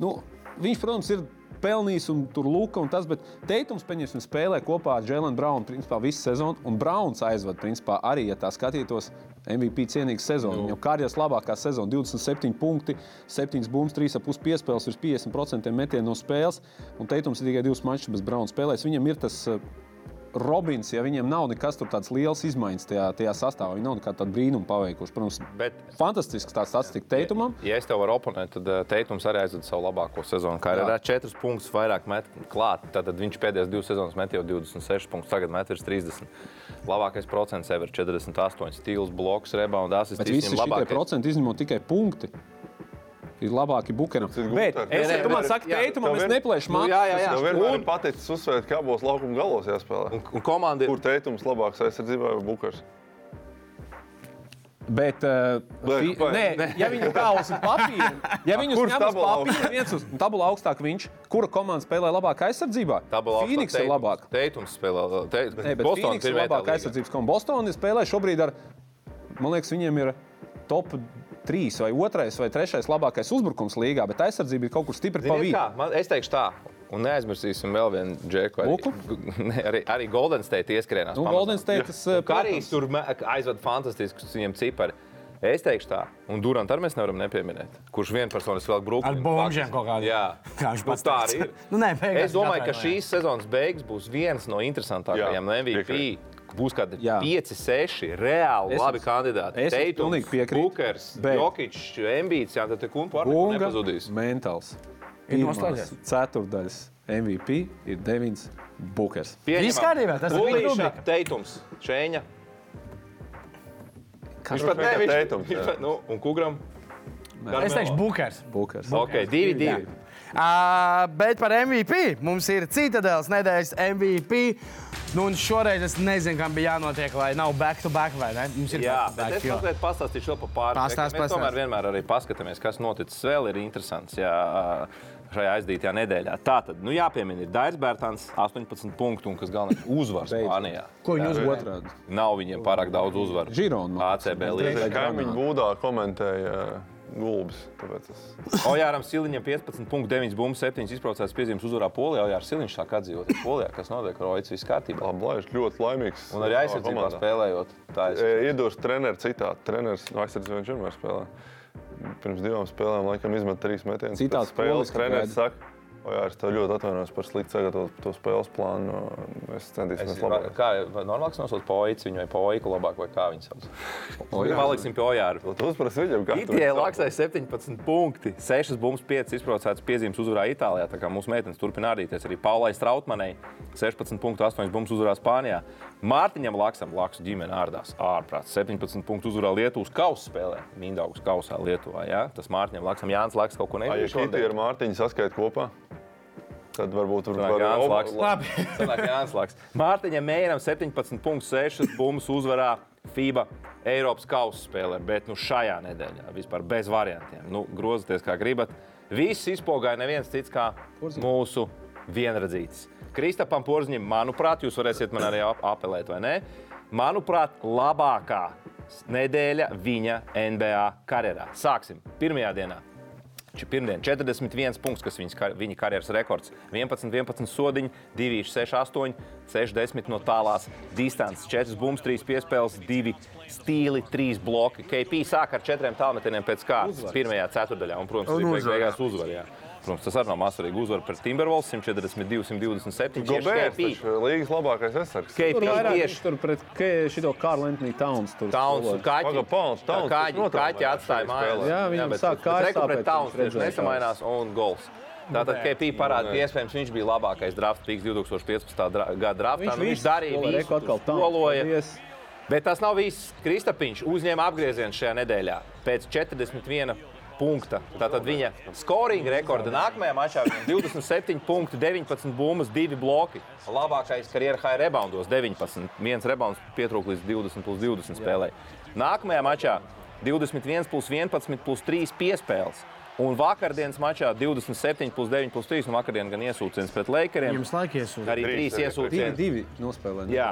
Nu, viņš, protams, ir pelnījis un tur lūka un tas, bet Teitums, pieņemsim, spēlē kopā ar Jēlenu Braunu principā visu sezonu, un Brauns aizved, principā, arī, ja tā skatītos, MVP cienīgu sezonu. Viņam karjeras labākā sezona, 27 punkti, 7 bumbas, 3,5 piespēles, ir 50% metienu no spēles, un Teitums ir tikai divas mačas bez Brauna spēlēs. Viņam ir tas eh, Robins, ja viņiem nav nekas tur tāds liels izmaiņas tajā, tajā sastāvā, viņi nav nekādu tādu brīnumu paveikuši. Protams,
Bet-
fantastisks tās statistika Teitumam.
Ja es tev varu oponēt, tad eh, Teitums arī aizvada savu labāko sezonu. Kā arī četrus punktus vairāk met klāt, tad viņš pēdējās divas sezonas met jau 26 punktus, tagad met virs 30. Labākais procents sev ir 48 stils, bloks, rebounds,
Bet
asists.
visi šie procenti izņemot tikai punkti. Ir labāki bukeram.
ir
Bet
Gunters.
es
Nē, nē,
domāju,
bet-
ka
jā,
teikumā
tev
mēs
vien-
neplēšam
Nu, jā, jā, jā.
Tev vienmēr
Un,
ir paticis uzsvērt, kā būs laukuma galos jāspēlē.
un komanda
Kur
ir.
teikums labāks aizsardzībā vai bukars?
Bet, uh,
Vai-
fi,
vai-
nē, ja viņi kā uz papīra, ja viņi
kurš
uz
tabula
papīra viens uz tabula augstāk viņš, kura komanda spēlē labāk aizsardzībā?
Tabulā augstāk
Phoenix ir
Teitums.
labāk.
Teitums spēlē. Teit...
Nē, bet Phoenix ir labāk aizsardzības komanda. Bostonā spēlē šobrīd ar, man liekas, viņiem ir top 3 vai 2 vai 3 labākais uzbrukums līgā, bet aizsardzība ir kaut kur stipri pa
Ziniet
vidu.
kā, Man, es teikšu tā. Un neaizmirsīsim vēl vienu džeku. Arī,
Luku?
Ne, arī, arī Golden State ieskrienās.
Nu,
pamazām.
Golden State tas, eh,
Karīs tur me- aizved fantastiskus viņiem cipari. Es teikšu tā, un Durant arī mēs nevaram nepieminēt, kurš vienpersonis vēl grūti.
Ar bombžiem kaut kādiem.
Jā,
Kā viņš
Nu,
pats
tā
teica.
arī ir.
Nu, nē, beigās
es domāju, ka
viņš
šīs sezonas beigas būs viens no interesantākajiem
Jā,
MVP. Būs kādi
Jā.
5, 6 reāli
Es-
labi kandidāti.
es
Teitums,
pilnīgi piekrītu.
Bukers,
Bet-
Jokic, Embīts, Jā, tad te kumpa arī
Bunga
nepazudīs.
mentāls.
Ir
Pirmās
noslēdzies?
Ceturtdaļas MVP ir Devins Bukers.
Pieņemam.
Viss kārtībā, tas ir viņa
Ulīša,
rubrika.
Teitums, Šēņa.
Kas
Viņš pat
vienkārši
nevis
Teitums, jā.
Nu, un Kugram.
Es teikšu, Bukers.
Bukers?
Ok, divi, divi.
Ā, bet par MVP mums ir citadēls nedēļas MVP. Nu, un šoreiz es nezinu, kam bija jānotiek, lai nav back-to-back vai ne. Mums ir
Jā, bet
back-to-back,
es
jo-
mazliet pastāstīšu vēl par pārējiem.
Pastāst,
Mēs
pastāst.
tomēr vienmēr arī paskatāmies, kas noticis vēl ir interesants jā, šajā aizdītajā nedēļā. Tātad, nu jāpiemina, ir Dairis Bērtāns 18 punktu un kas galvenais uzvars
Beidzot.
Spānijā.
Ko viņi uzvar? Otrādi.
Nav viņiem pārāk daudz uzvaru.
Girona, man liekas.
ACB līnija.
Vai
Kaimiņu
Granāda?
būdā komentēja uh, gulbis. Tāpēc es
Ojāram Siliņam 15,9 bumbas, 7 izbraucās piezīmes uzvarā Polijā. Ojārs Siliņš sāk atdzīvot Polijā, kas notiek Rojas viss kārtībā.
labi laižu, ļoti laimīgs. uh,
Un arī aizsardzībā spēlējot. Tā es
E, Iedos treneru citātu. Treneris no aizsardzības viņš vienmēr spēlē. Pirms divām spēlēm laikam izmet trīs metienus. pēc
Citāts
spēles
Polis, ka gaida.
treneris saka, o jā, es tev ļoti atvainojos par sliktu sagatavotu to spēles plānu. Mēs
Es
centīsimies
domāju,
labāk.
ka normāls nosauc poicu, viņu vai poiku labāk, vai kā viņi sauc.
Nu,
Paliksim pie ojāra.
Tu uzprasi viņam, kā
Itālijā
viņu sauc.
laksai 17 punkti, 6 bumbas, 5 izbraucētas piezīmes uzvarā Itālijā. Tā kā mūsu meitenes turpina ādīties arī Paulai Strautmanai. 16 punktu, 8 bumbas uzvarā Spānijā. Mārtiņam Laksam, Laksu ģimene ārdās ārprāts. 17 punktu uzvarā Lietuvas kausa spēlē, Mindaugas kausā Lietuvā. Ja? Tas Mārtiņam Laksam, Jānis Laks kaut ko
Ai, Ja
nedarīja.
Kiti ar Mārtiņu saskaita kopā, tad varbūt tur
Sanāk, Jānis Laks.
var
(laughs) Labi. Sanāk, Jānis Laks. Mārtiņam Mēram 17,6 bumbas uzvarā FIBA Eiropas kausa spēlē, bet nu šajā nedēļā vispār bez variantiem. Nu, grozieties, kā gribat. Viss izpogāja neviens cits kā mūsu vienradzītis. Kristapam Porziņam, manuprāt, jūs varēsiet man arī ap- apelēt, vai ne? Manuprāt, labākā nedēļa viņa NBA karjerā. Sāksim pirmajā dienā. Či- Pirmdien 41 punkts, kas viņas, kar- viņa karjeras rekords. 11, 11 sodiņi, 2, 6, 8, 6, 10 no tālās distances, 4 bumbas, 3 piespēles, 2 stili, 3 bloki. KP sāk ar 4 tālmetieniem pēc kārtas, 1. ceturdaļā, un, protams, arī beig- beigās uzvarēja. Protams, tas arī nav mazsvarīgi uzvara pret Timberwolves 142, 127. tieši
Gobērs,
KP.
taču līgas labākais aizsargs.
KP
Tur vairāk viņš
tieši
tur pret Ke- šito Karlu Antoni Towns. tur
Tauns un
spēlē.
Kaķis.
Paga, Towns, Towns, tas
Kaķis
notraumēja
kaķi atstāja
šajā
mājās.
spēlē.
Jā, viņam
bet-
sāk
bet
kājas
reku pret
sāpēt,
Towns
viņš
tieši
redzēja
nesamainās un gols. Tātad KP parāda, ka iespējams viņš bija labākais draft pīks 2015. dra- gada draftā.
Viņš,
Nu, Viņš darīja
spēlē,
visu,
reku atkal Towns.
skoloja.
Paldies.
Bet tas nav viss. Kristapiņš uzņēma apgriezienu šajā nedēļā. Pēc 41 punkta. Tātad viņa scoring rekorda nākamajā mačā viņam 27 punkti, 19 bumbas, 2 bloki. Labākais karjeras high reboundos 19. Viens rebounds pietrūka līdz 20 plus 20 spēlē. Nākamajā mačā 21 plus 11 plus 3 piespēles. Un vakardienas mačā 27 plus 9 plus 3 un vakardienas gan iesūcējums pret Lakeriem.
Jums laika iesūdzēt.
Arī
Trīs
3
arī
Divi,
iesūcējumi.
divi nospēlēja.
Jā,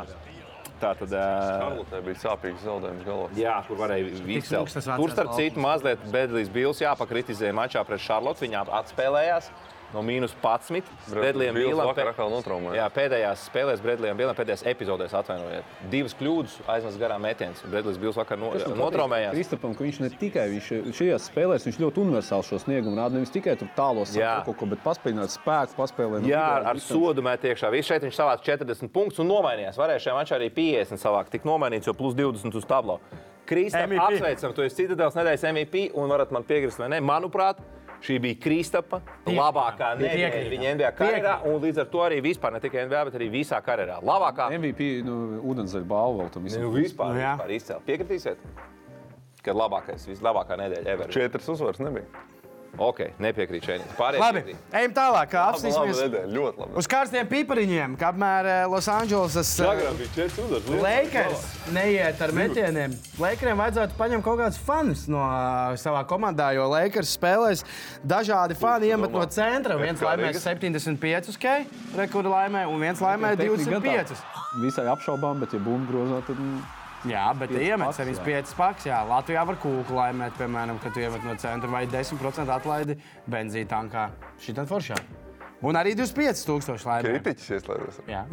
tā tad. ā,
Karlotē bija sāpīgs zaudējums galā.
Jā, kur varēja izcelt.
smūgs tas vecais
Tur, starp citu,
Valkons.
mazliet Bedlīs Bīls jāpakritizē mačā pret Šarlotu. Viņām atspēlējās no mīnus 11. Bedlījiem
Bīls
Bīlam
vakar
pē-
atkal notraumēja.
Jā, pēdējās spēlēs Bredlījiem Bīlam, pēdējās epizodēs atvainojiet. Divas kļūdas aiznes garām metiens. Bredlīs Bīls vakar no, notraumējās.
Kristapam, ka viņš ne tikai viņš šajās spēlēs, viņš ļoti universāli šo sniegumu rāda. Nevis tikai tur tālos
Jā.
sakot, ko, bet paspēlināt spēku, paspēlēt.
Jā, ar, ar sodu mēt iekšā. Viņš šeit viņš savāca 40 punktus un nomainījās. Varēja šajā mačā arī 50 savākt. Tik nomainīts jau plus 20 uz tablo. Kristap,
MVP.
apsveicam, tu esi citadēls nedēļas MVP un varat man piekrist vai nē. Manuprāt, šī bija Kristapa labākā nedēļa
Piekrītam.
viņa NBA karjerā un līdz ar to arī vispār ne tikai NBA, bet arī visā karjerā. Labākā
MVP nu, ūdenzēļa balvu vēl tam
nu,
visam.
vispār,
Nu,
nu,
jā.
vispār izcēla. Piekritīsiet? Kad labākais, vislabākā nedēļa ever.
Četras uzvaras nebija.
Ok, nepiekrīt šeit. Pārējie.
Labi,
piekrīt.
ejam tālāk. kā
Labi, labi
Apstāsimies
nedēļa, ļoti labi.
uz karstiem pipariņiem, kamēr eh, Losandželosas eh,
Agrāk bija četras uzvaras.
Lakers neiet ar metieniem. Lakeriem vajadzētu paņemt kaut kādus fanus no ā, savā komandā, jo Lakers spēlēs dažādi fani iemet no centra. Viens laimē 75 k, rekordu laimē, un viens laimē 25.
Visai apšaubām, bet ja bumbu grozā, tad nu,
Jā, bet
Pieci
iemet
paks,
arī
jā.
5 paks. Jā, Latvijā var kūku laimēt, piemēram, kad tu iemet no centra vai 10% atlaidi benzīna tankā. Šitā foršā. Un arī 25,000 laimē.
Kritiķis ieslēdzas.
Jā,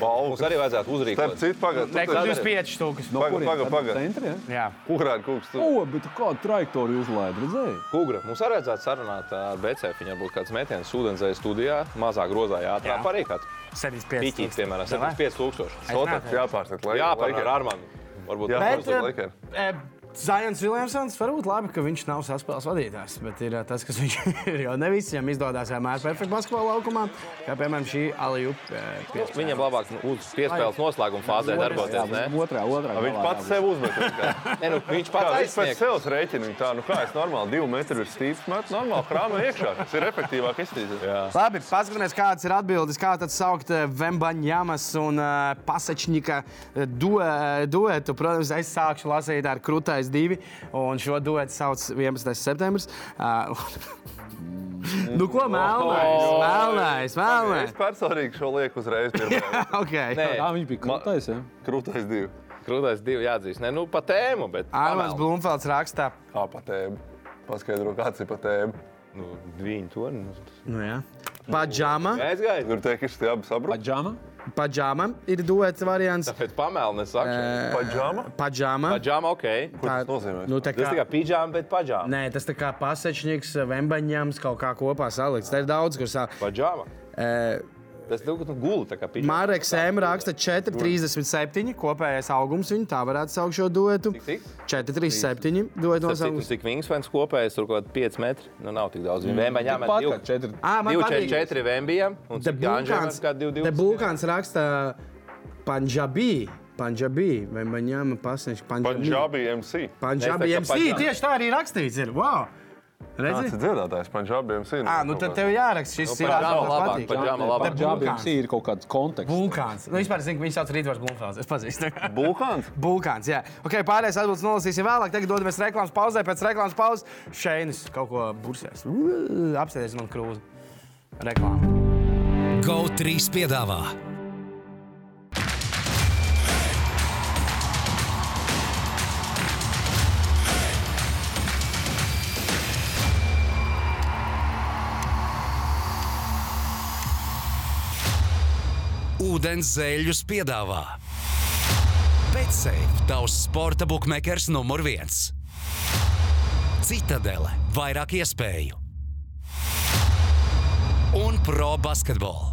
Mums arī vajadzētu
Starp
uzrīkot.
citu,
Rekords
pagaidiet,
25,000.
no
Paga,
kurienes?
paga,
Ar
paga.
Centra, ja?
Jā.
kurām kungs tur
O, bet kādu trajektoriju uzlaid, redzēji?
Kugra. Mums arī vajadzētu sarunāt ar BCF. Viņam būtu kāds mētējums ūdenzēļa studijā, mazā grozā jāatrāpa
Jā.
arī kāds
75.
pīķis, piemēram, 75,000.
sotāts jāpārsniedz. lai-
Jāpārnāk
laikam.
ar Armānu. Varbūt
Jā,
tas
Bet,
būs
Lakers,
eh,
Lakers.
eh, Zions Viljamsons varbūt labi, ka viņš nav saspēles vadītājs, bet ir eh, tas, kas viņš (laughs) ir. Jo ne visiem izdodas vienmēr perfekti basketbola laukumā, kā piemēram šī e, Aliju.
labi. Viņam labāk nu, uz piespēles noslēguma fāzē
Jā,
darboties.
bet
ne?
otrā, otrā.
Viņš
galā
pats
jābūt.
sev uzmet.
Nē, nu, viņš
Kā
pats
viņš pēc
aizsniedz.
sevis rēķina? viņu Tā, nu kā es normāli divu metru ir stīvs, met normāli krāmē iekšā. Tas ir efektīvāk izstīties.
Labi, paskatieties, kādas ir atbildes, kā tad saukt eh, Vembaņamas un uh, Pasačņika eh, due, duetu. Protams, es sākšu lasīt ar krūtais divi, un šo duetu sauc 11. septembris. Uh, (laughs) nu ko, melnais, melnais,
Es
melnais.
personīgi šo lieku uzreiz. pirmajā.
Okay.
Nē,
Jā, viņš bija krūtais, ja?
Krūtais divi.
krūtīs divi jāatzīst. Nē, nu, pa tēmu, bet.
Armāns
pamēl.
Blūmfelds rakstā.
Kā pa tēmu? Paskaidro, kāds ir pa tēmu.
Nu, Viņi to nu.
Nu, jā. Paģāma,
aizgāja.
Tur teikt, ka šis abi sabrūk.
Paģama.
paģāma ir duets variants.
Tāpēc pamēlni saka.
Paģāma?
Paģāma.
Paģām, ok.
Ko tas nozīmē?
Nu, tā
Tas
kā,
tikai pīģām, bet paģām.
nē, tas tā kā pasečnieks, vembaņams kaut kā kopā salikts. Te ir daudz, kur sā.
Paģām. Tas tev nu, guli tā kā pīģām.
Mareks M raksta 4,37 kopējais augums. Viņa tā varētu saukt šo duetu.
cik?
4,37 duetu
Tas ir
nosaukums.
cik vingsvens kopējais, tur kaut kāds 5 metri. Nu, nav tik daudz. Viņam vienmēr jāmet
Pat kā
2,
četri.
Ā, man patīk.
4 vēmbijam. Un
The Bulkans,
Jāņģēns kā 2,
The
2.
Bulkans raksta Punjabi. Punjabi, vai man jāma pasniegt Punjabi?
Panžābi MC.
Nē, tā
Punjabi
kā
MC.
Punjabi.
Tieši tā arī rakstīts. Ir. Wow!
Tas
Redzi?
ir dzirdētājs. Panžābi MC.
Ā, nu tad tev jāraksta šis
Nu,
ir
paģāma
atbildīgs.
labāk,
patīk.
paģāma
Jā,
labāk.
bet
Paģama
Bulkāns.
ir kaut kāds konteksts.
Bulkāns. Nu, vispār zinu, ka viņš sauc Rītvars Blūmfels. Es pazīstu.
Bulkāns.
Bulkāns, jā. Ok, pārējais atbildes nolasīsim vēlāk. Tagad dodamies reklāmas pauzē. Pēc reklāmas pauzes Šeinis kaut ko bursēs. Ū, Apsēdies man krūzi. Reklāma.
GO3 piedāvā Ūdens zēļus piedāvā Betsafe, tavs sporta bookmakers numur viens. Citadele, vairāk iespēju un pro basketbolu.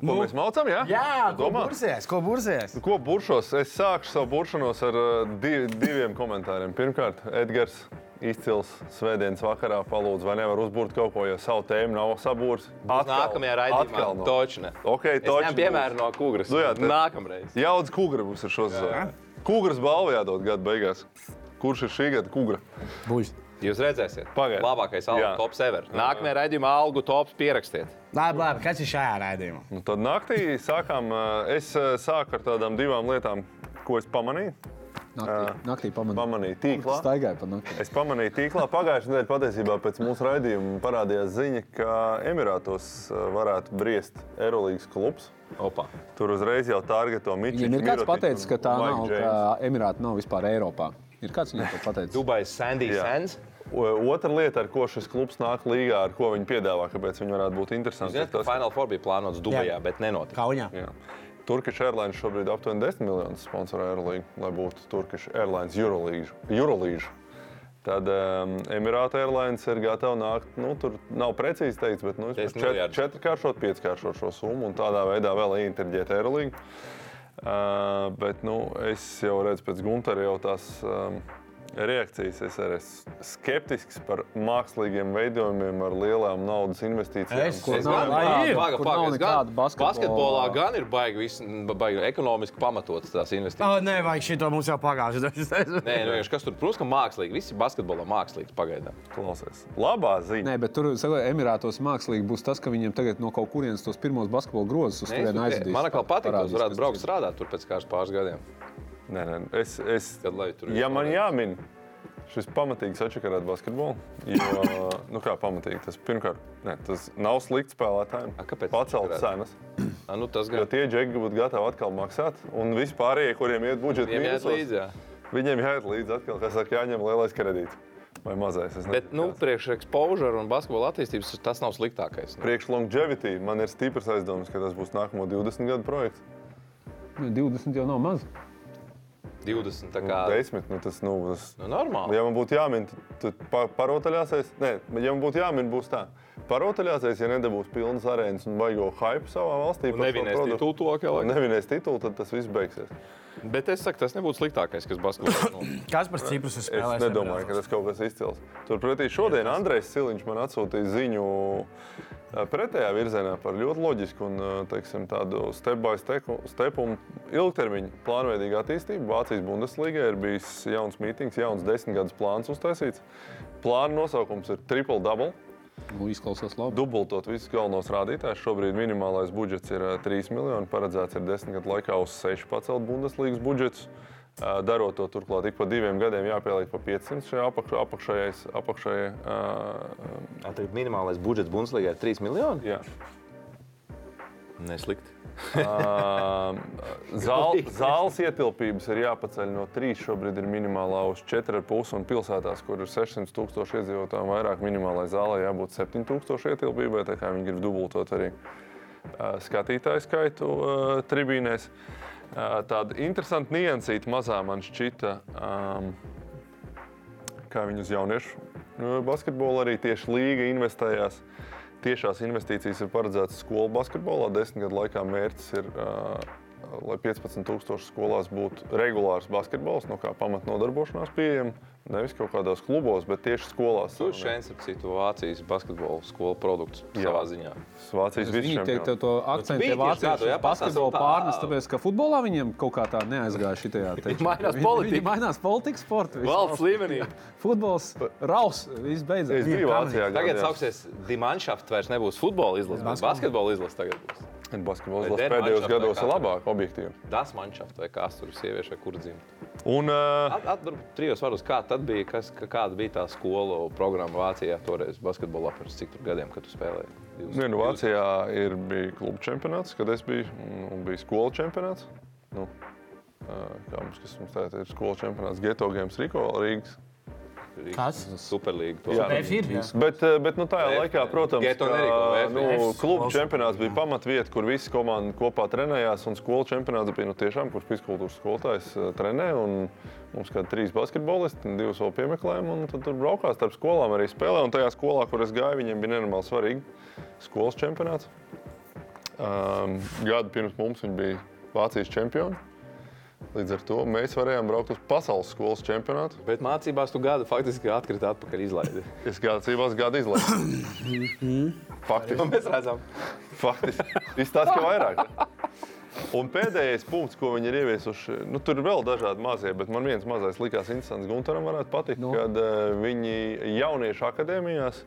Ko mēs maucam? Jā,
Nu, Jā, ko
domā.
bursēs? Ko bursēs?
Ko eh, buršos? Es sāku savu buršanos ar uh, div, diviem komentāriem. Pirmkārt, Edgars izcils svētdienas vakarā palūdzu, vai nevar uzbūvēt kaut ko, jo savu tēmu nav sabūris.
Nākamajā raidījumā Točina.
Ok,
Točina.
Točina
Piemēram,
būs.
no Kūgras.
Nu jā, tad-
Nākamreiz.
Jaudas kungra mums ir šos sezonā. Kungras balva jādod gada beigās. Kurš ir šī gada kungra?
Būs.
Jūs redzēsiet,
Pagaid.
labākais algu
Jā.
tops ever. Nākamajā raidījumā algu tops pierakstiet.
Labi, labi, kas ir šajā raidījumā?
Nu, tad naktī sākām, eh, es eh, sāku ar tādām divām lietām, ko es pamanīju.
Naktī, naktī pamanīju.
Pamanīju tīklā.
Staigāju pa naktī.
Es pamanīju, tīklā pagājušajā nedēļā patiesībā pēc mūsu raidījuma parādījās ziņa, ka Emirātos eh, varētu briest Eirolandes klubs.
Opa.
Tur uzreiz jau targeto mītīnu.
Viņam ir nu kāds pateicis, ka tā nav, ka Emirāti nav vispār Eiropā. Ir kāds viņam to pateicis?
Dubais Sandy
Jā.
Sands.
Otra lieta, ar ko šis klubs nāk līgā, ar ko viņi piedāvā, kāpēc viņi varētu būt interesanti.
Ziniet, ka Final Four bija plānots
Jā.
Dubajā, bet nenotika.
Kaunijā.
Turkish Airlines šobrīd aptuveni 10 miljonus sponsorē Aerolīgu, lai būtu Turkish Airlines Eurolīžu. Eurolīžu. Tad um, Emirāta Airlines ir gatava nākt, nu, tur nav precīzi teikts, bet nu,
Desmit miljardus.
četrkāršot, pieckāršot šo summu un tādā veidā vēl interģēt Aerolīgu. Uh, bet nu, es jau redzu pēc Guntera jau tās um, reakcijas. Es arī esmu skeptisks par mākslīgiem veidojumiem ar lielām naudas investīcijām.
Es-
Kur
Es
nav
gan-
nekāda-
Ā, paga,
kur
paga, es
nav nekāda
gan-
basketbola-
Basketbolā gan ir baigi, vis- baigi ekonomiski pamatotas tās
Oh,
investīcijas.
nē, vajag šito mums jau pagājušajā.
Nē, nu, vienkārši kas tur, protams, ka mākslīgi. Visi basketbolā mākslīgi pagaidām.
Klausies, labā ziņa.
Nē, bet tur saka, Emirātos mākslīgi būs tas, ka viņiem tagad no kaut kurienes tos pirmos basketbola grozus uz
Nē, es-
turieni aizvedīs.
Man kā patīk, ka
Parādīs,
jūs varētu
kas
braukt strādāt tur pēc kāds pāris gadiem.
Nē, nē, es, es,
Kad lai tur
ja man jāmin, šis pamatīgi atšakarēt basketbolu, jo, nu kā pamatīgi, tas pirmkārt, ne, tas nav slikti spēlētājiem.
A, kāpēc
Pacelt
atšakarēt?
cenas,
Ā, Nu, tas
jo
gan.
tie džekļi būtu gatavi atkal maksāt, un vispārējie, kuriem iet budžeta
Viņiem jāiet
mīnusos,
līdzi. jā.
Viņiem jāiet līdzi atkal, kas saka, jāņem lielais kredīts vai mazais. es
Bet,
nezinu,
nu,
kāds.
priekš ekspožera un basketbola attīstības tas nav sliktākais. nu.
Priekš longevity man ir stiprs aizdoms, ka tas būs nākamo 20 gadu projekts.
Nu, 20 jau nav maz.
20. tā
Nu,
kā.
10, nu tas, nu, tas
Nu, normāli.
Ja man būtu jāmin, tad pa- parotaļāsies. Nē, ja man būtu jāmin, būs tā. Parotaļāsies, ja nedabūs pilnas arēnas un baigo hype savā valstī.
Un Nu, nevinēs titulu tuvākajā laikā.
Nevinēs titulu, tad tas viss beigsies.
Bet es saku, tas nebūtu sliktākais, kas basketbolā nu.
(coughs)
notiek.
Kas par Ciprus ir
Eh,
Es
spēlējis?
nedomāju, ka tas kaut kas izcils. Turpretī šodien Andrejs Siliņš man atsūtīja ziņu eh, pretējā virzienā par ļoti loģisku un eh, teiksim, tādu step-by-stepu un ilgtermiņu plānveidīgu attīstību. Vācijas Bundeslīgā ir bijis jauns mītings, jauns desmitgades plāns uztaisīts. Plāna nosaukums ir triple-double.
Nu, izklausās labi.
dubultot visus galvenos rādītājus. Šobrīd minimālais budžets ir eh, 3 miljoni, paredzēts ir 10 gadu laikā uz 6 pacelt Bundeslīgas budžets. Eh, Darot to turklāt, ik pa diviem gadiem jāpieliek pa 500 šajā apakš, apakšējais, apakšējai. eh,
Tad minimālais budžets Bundeslīgā ir 3 miljoni.
jā.
Neslikti.
Ā, zāl- Zāles ietilpības ir jāpaceļ no 3, šobrīd ir minimālā uz 4,5 un pilsētās, kur ir 600 tūkstoši iedzīvotāju, un vairāk minimālai zālē jābūt 7000 ietilpībai. Tā kā viņi grib dubultot arī ā, skatītāju skaitu ā, tribīnēs. Ā, Tāda interesanta niansīta mazā man šķita. Um, kā viņi uz jauniešu nu, basketbolu arī tieši līga investējās. Tiešās investīcijas ir paredzētas skolu basketbolā. Desmit gadu laikā mērķis ir, ā, lai 15,000 skolās būtu regulārs basketbols, no kā pamatnodarbošanās pieejama. Nevis kaut kādos klubos, bet tieši skolās.
Tur šeit ir citu Vācijas basketbola skolu produkts
Jā.
savā ziņā.
Vācijas
Viņi tiek
vidusceļā.
tev to akcentu
bija
pie
tieši tā, tu
vāciešu
jā,
uz basketbolu
pastāsti, tā.
pārnes, tāpēc, ka futbolā viņiem kaut kā tā neaizgāja šitajā.
(laughs)
(laughs)
teiksim.
Mainās
Viņi-
politika.
viņi Mainās politika, sporta. viss.
Valsts līmenī.
Futbols, raus, viss
Es
beidzās.
biju Vācijā.
Tagad
gadījās.
sauksies Dimanšafts, vairs nebūs futbola izlase, bet basketbola izlase tagad būs.
Basketbols
Vai Denmark
pēdējos
šāpē
gados
kā
ir
tā?
labāk, objektīvi.
Das manšafts vai kāds tur sieviešu vai kur dzimt.
Un, uh,
Atvarbūt trijos varos, kā tad bija, kas, ka- kāda bija tā skolu programma Vācijā toreiz basketbolā pirms cik tur gadiem, kad tu spēlēji? Divus-
Nē, nu,
divus-
Vācijā ir bija kluba čempionāts, kad es biju, un- un bija skolu čempionāts. Nu, ā, kā mums, kas mums tagad ir skolu čempionāts, Geto Games Rīko, Rīgas.
Kas?
Superlīga. to.
Tev ir? jā?
Bet, ā, bet nu, tajā
Vēf-
laikā, protams,
Geto nerīko,
ka,
Vēf-
nu,
Vēf-
kluba čempionāts bija pamatvieta, kur visas komandas kopā trenējās, un skolu čempionāts bija nu, tiešām, kurš fizkultūras skolotājs ā, trenē. un Mums kā trīs basketbolisti, un divas vēl piemeklējām, un tad tur braukās starp skolām arī spēlē. Un tajā skolā, kur es gāju, viņiem bija nenormāli svarīgi skolas čempionāts. Um, gadu pirms mums viņi bija Vācijas čempioni. Līdz ar to mēs varējām braukt uz pasaules skolas čempionātu.
Bet mācībās tu gada faktiski atkrīt atpakaļ izlaidi.
Es gācībās gadu izlaidu. Faktiski.
Mēs redzam,
(laughs) Faktiski. Izstāsta, ka vairāk. Un pēdējais punkts, ko viņi ir ieviesuši, nu, tur ir vēl dažādi mazie, bet man viens mazais likās interesants. Gunteram varētu patikt, no. kad uh, viņi jauniešu akadēmijās,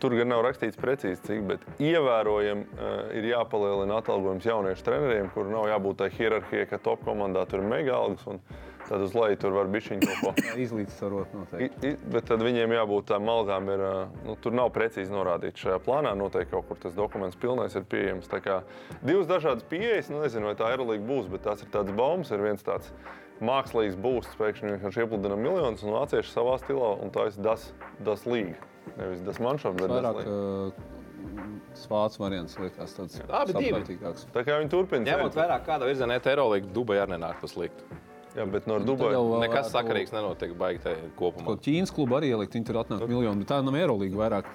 tur gan nav rakstīts precīzi, cik, bet ievērojami uh, ir jāpalielina atalgojums jauniešu treneriem, kur nav jābūt tai hierarhijai, ka top komandā tur ir mega algas un tad uz leju tur var bišķiņu kaut ko.
Izlīdzsvarot noteikti.
I- i- Bet tad viņiem jābūt tām algām. Ir, ā, nu, tur nav precīzi norādīts šajā plānā. Noteikti kaut kur tas dokuments pilnais ir pieejams. Tā kā divas dažādas pieejas. Nu, nezinu, vai tā ir līga būs, bet tās ir tādas baumas. Ir viens tāds mākslīgs būsts, pēkšņi vienkārši iepludina miljonus un vācieši savā stilā. Un tā ir tas, tas līga. Nevis tas manšam, bet tas
Vairāk
līga.
svācu variants liekas tāds
Abi divi.
saprātīgāks.
Tā kā viņi turpina.
ņemot
ceļu.
vērā, kādā virzienā iet Eirolandā, Dubai arī nenāk tas slikti.
Jā, bet nu, no
Tad jau,
Dubajas.
ā,
Nekas
varētu
sakarīgs nenotiek baigi tai kopumā.
Kaut Ķīnas klubu arī ielikt, viņi tur atnāk miljonu, bet tā nav Eirolīga vairāk.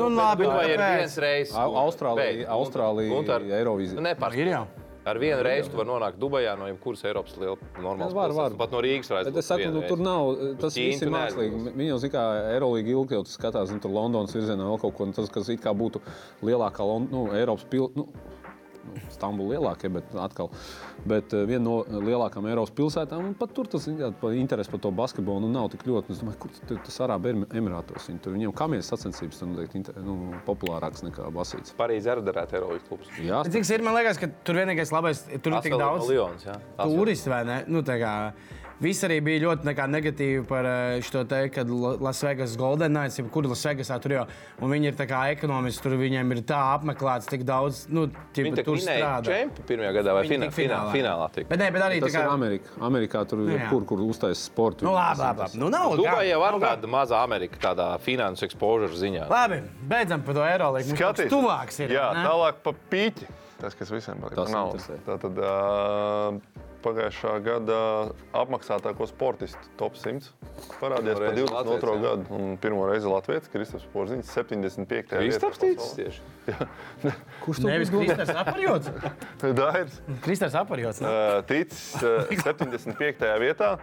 Nu, labi,
Vai ir
kāpēc?
viens reizes?
Au- Austrālija, Austrālija, Eirovīzija.
Nē,
Nu,
par
Ir jau.
Ar vienu reizi tu vari nonākt Dubajā no jebkuras Eiropas liela normālas
Es varu,
pilsētas.
varu.
Pat no Rīgas var
Bet es saku, nu, tur nav, tas
Ķīnu
viss ir
tu neaizbrauc.
mākslīgi. Viņi jau zina, kā Eirolandā ilgi jau skatās, un tur Londonas virzienā vēl kaut ko un tas, kas it kā būtu lielākā Lon- nu, Eiropas pilsēta. Nu, Stambula lielākie, bet atkal. Bet eh, viena no lielākām Eiropas pilsētām, un pat tur tas jā, pa- interesi par to basketbolu nu, nav tik ļoti. Es domāju, kur tur tas Arābu Em- Emirātos viņi tur viņiem kamienas sacensības tur noteikti inter- nu, populārākas nekā basīts.
Parīzē arī derētu Eiropas klubs.
Jā,
Cik tas ir? Man liekas, ka tur vienīgais labais, tur ir tik daudz
Lions, jā. Tas vēl-
turistu vai ne? Nu, tā kā Viss arī bija ļoti nekā negatīvi par eh, šo te, kad La- Lasvegas Golden Knights, jeb kur Lasvegasā tur jau, un viņi ir tā kā ekonomisti, tur viņiem ir tā apmeklēts tik daudz, nu, tie
Viņi tur
tur
minēja
strādā.
čempionu pirmajā gadā vai
Viņi
finālā?
tik
Finālā, finālā tik.
Bet, nē, bet arī tā
tas ir
kā... Nu
Amerikā. Amerikā tur ir
jā.
kur, kur uztais sports.
Nu, labi, labi, labi. Nu, nav gan-
Dubai jau ir
nav gan.
tāda maza Amerika, tādā finansu exposure ziņā.
Labi, beidzam par to aerolīku. Skaties,
Skaties,
Nu, tuvāks ir.
Jā,
ne?
tālāk pa pīķi. Tas, kas visiem patīk,
Tas
ir nauda.
interesē.
Tātad ā, pagājušā gada apmaksātāko sportistu top 100 parādījās pa
Pirmo reizi
22.
Latvijas, jā.
gadu. Un pirmo reizi Latvijas Kristaps Porziņš 75.
Kristaps ticis tieši.
Kurš
Nevis Kristers Aparjots.
Dairs.
Kristers Aparjots. ne?
Ā, Ticis ā, 75. vietā.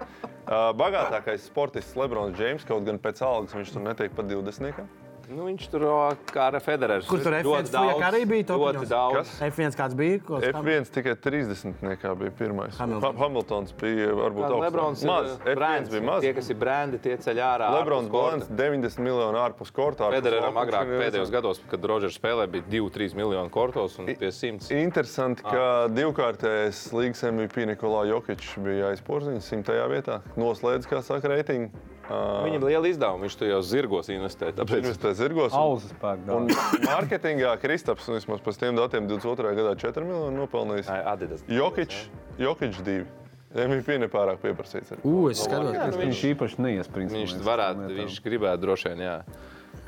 Ā, Bagātākais sportists Lebrons Džeims, kaut gan pēc algas viņš tur netiek pat 20.
Nu, viņš tur ā, kā ar Federeru.
Kur tur F1 fujak arī bija topiņos?
Ļoti daudz.
Kas?
F1 kāds bija? ko-
F1 tikai 30. bija
Hamiltons.
pirmais. Hamiltons, Hamiltons bija varbūt
Kā
augstāk.
Lebrons ir
maz. F1
brands.
bija maz.
Tie, kas ir brandi, tie ceļ ārā.
Lebrons
ārpus
Blēns
korta.
90 miljonu ārpus kortā. ārpus
Federeram
lauka,
agrāk
viņš ir
pēdējos gados, kad Rodžers spēlēja, bija 2-3 miljoni kortos un pie 100.
Interesanti,
Ah.
ka divkārtais līgas MVP Nikolai Jokičs bija aizpūziņš simtajā vietā. Noslēdz, kā saka, reitingu. Ah,
Viņam bija liela izdevuma, viņš to jau zirgos investē. Tāpēc
Viņš tā zirgos. un-
Auzas pērk.
Un
daudz.
mārketingā Kristaps, un vismaz pēc tiem datiem, 22. gadā 4 miljonu nopelnījis.
Ai, Adidas.
Jokičs, Jokičs 2. MVP nepārāk pieprasīts. arī.
U, es skatos.
Jā, nu,
Viņš
viņš,
īpaši neies, principā.
viņš
uz
varētu,
lietām.
viņš gribētu droši vien, jā.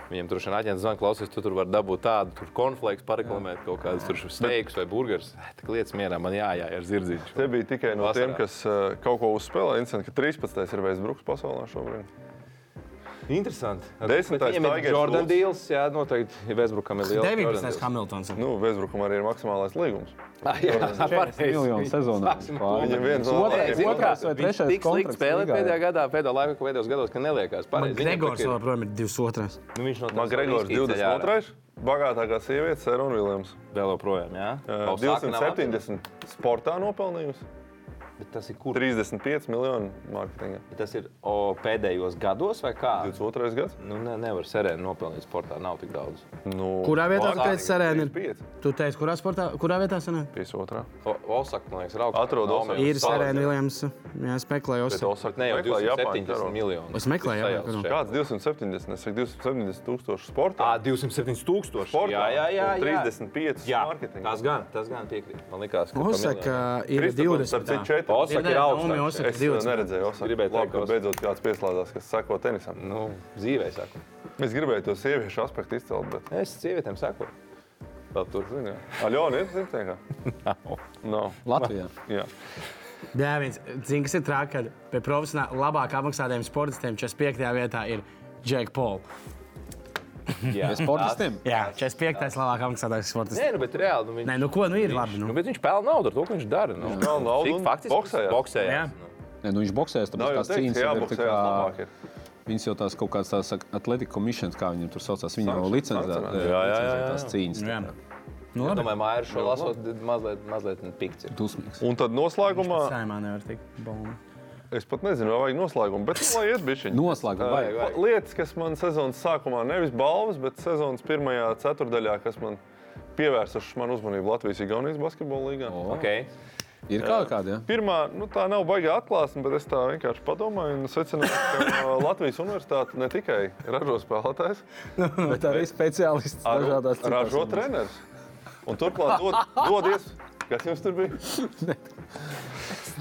Viņam droši vien aģents zvanīja, klausies, tu tur var dabūt tādu, tur konflikts, pareklamēt kaut kādas tur steigus vai burgerus. Tik lietas mierā, man jājā ar zirdzīšu.
Te bija tikai no
Vasarā.
tiem, kas uh, kaut ko uzspēlēja. Interesanti, ka 13. ir Vēsbruks pasaulē šobrīd.
Interesanti.
Desmitais
Bet viņiem ir
Tigers
Jordan
Woods.
Dīls, jā, noteikti Vēsbrukam ir liela.
19.
(laughs)
Hamiltons.
Nu, Vēsbrukam arī ir maksimālais līgums.
miljonu sezonā.
Viņam viens no
Otrais,
labākajiem.
otrās vai
Tik
trešais
slikti
kontrakts
spēlē
līgā, jā.
pēdējā gadā, pēdējā laikā, ka pēdējos gados, ka neliekās pareizi. Viņam
Gregors
tikai-
vēl projām ir 22.
Nu, viņš no tās
Makgregors
arī izceļ ārā.
22. Bagātākā sieviete, Sērona Viljams.
Vēl joprojām, jā.
Uh,
Pausāka nav
270 sportā nopelnījusi,
atzīta. Bet Tas ir kur?
35 miljonu mārketingā.
Tas ir o, pēdējos gados vai kā?
22. gads.
Nu, ne, nevar serēni nopelnīt sportā, nav tik daudz.
Nu,
Kurā vietā tu
Vasarā.
teici, Serēna ir?
5.
Tu teici, kurā sportā, kurā vietā sanāk?
52.
Osaka, man liekas, raugs.
Atrod Osaku.
Ir Serēna Viljams, jā, spekulējos.
Bet Osaka
Ne jau
meklē Japāņu
270
karogu.
miljonu.
Es meklēju, jā,
Sajauc
jā,
šeit.
Kāds 270? Es saku 270 tūkstoši sportā.
Ā, 270 tūkstoši.
Sportā
jā, jā, jā.
un
jā.
35
Jā,
mārketingā.
tas gan, tas gan piekrīt. Man liekas, ka. pa
Osaka
miljonu.
ir
Kristaps, starp
20.
citu, 4.
Osaka ir
Naomi
augsts.
Osaka
Es
20.
neredzēju, Osaka.
Gribēju
Labi,
teikt,
ka
Osaka.
beidzot kāds pieslēdzās, kas sako tenisam.
Nu, dzīvē, saku.
Es gribēju to sieviešu aspektu izcelt, bet
Es sievietēm saku. Vēl tur zinu.
Aļona ir zirdziņā.
(laughs)
Nav.
(laughs) Latvijā.
Jā.
Jā, viens, zini, kas ir trāk, kad pie profesionāla labāk apmaksātajiem sportistiem 45. vietā ir Jake Paul.
Jā,
Sportistiem?
Jā, 45. labākā maksātājas sports.
Nē, nu, bet reāli. Nu, viņ...
Nē, nu ko, nu ir labi.
Nu,
Nu.
bet viņš pelna naudu ar to, ko viņš dara. Nu.
pelna naudu
Cik
un
faktiski
boksējās.
boksējās.
Jā.
nu.
Nē, nu viņš
Nav
boxēs, tāpēc
jau
tās
teikt,
cīņas
ka
jau ir tā
jāboksējās labāk.
kā.
Ir.
Viņas jau tās kaut kādas tās atletikas komisijas, kā viņiem tur saucās, viņa jau licencē
sankcionēts.
Jā, jā, jā, jā.
tās cīņas. tā
Jā.
kā.
Nu,
Es
labi.
domāju, Maija šo lasot, mazliet, mazliet pikts. ir.
Dusmīgs.
Un tad noslēgumā,
Saimā nevar tikt. Bomba.
es pat nezinu, vai vajag noslēgumu, bet nu, lai iet bišķiņ.
Noslēgumā
Vajag,
vajag.
vajag.
Lietas, kas man sezonas sākumā, nevis balvas, bet sezonas pirmajā ceturdaļā, kas man pievērsušas manu uzmanību Latvijas-Igaunijas basketbola līgā.
O,
Okay.
Ir kaut kāda, jā.
Pirmā, nu, tā nav baigta atklāsme, bet es tā vienkārši padomāju un secināju, ka ā, Latvijas universitāte ne tikai ražo spēlētājs,
Bet arī speciālists
bet
dažādās
arī ražo treneris. Un turklāt dod, dodies, kas jums tur bija?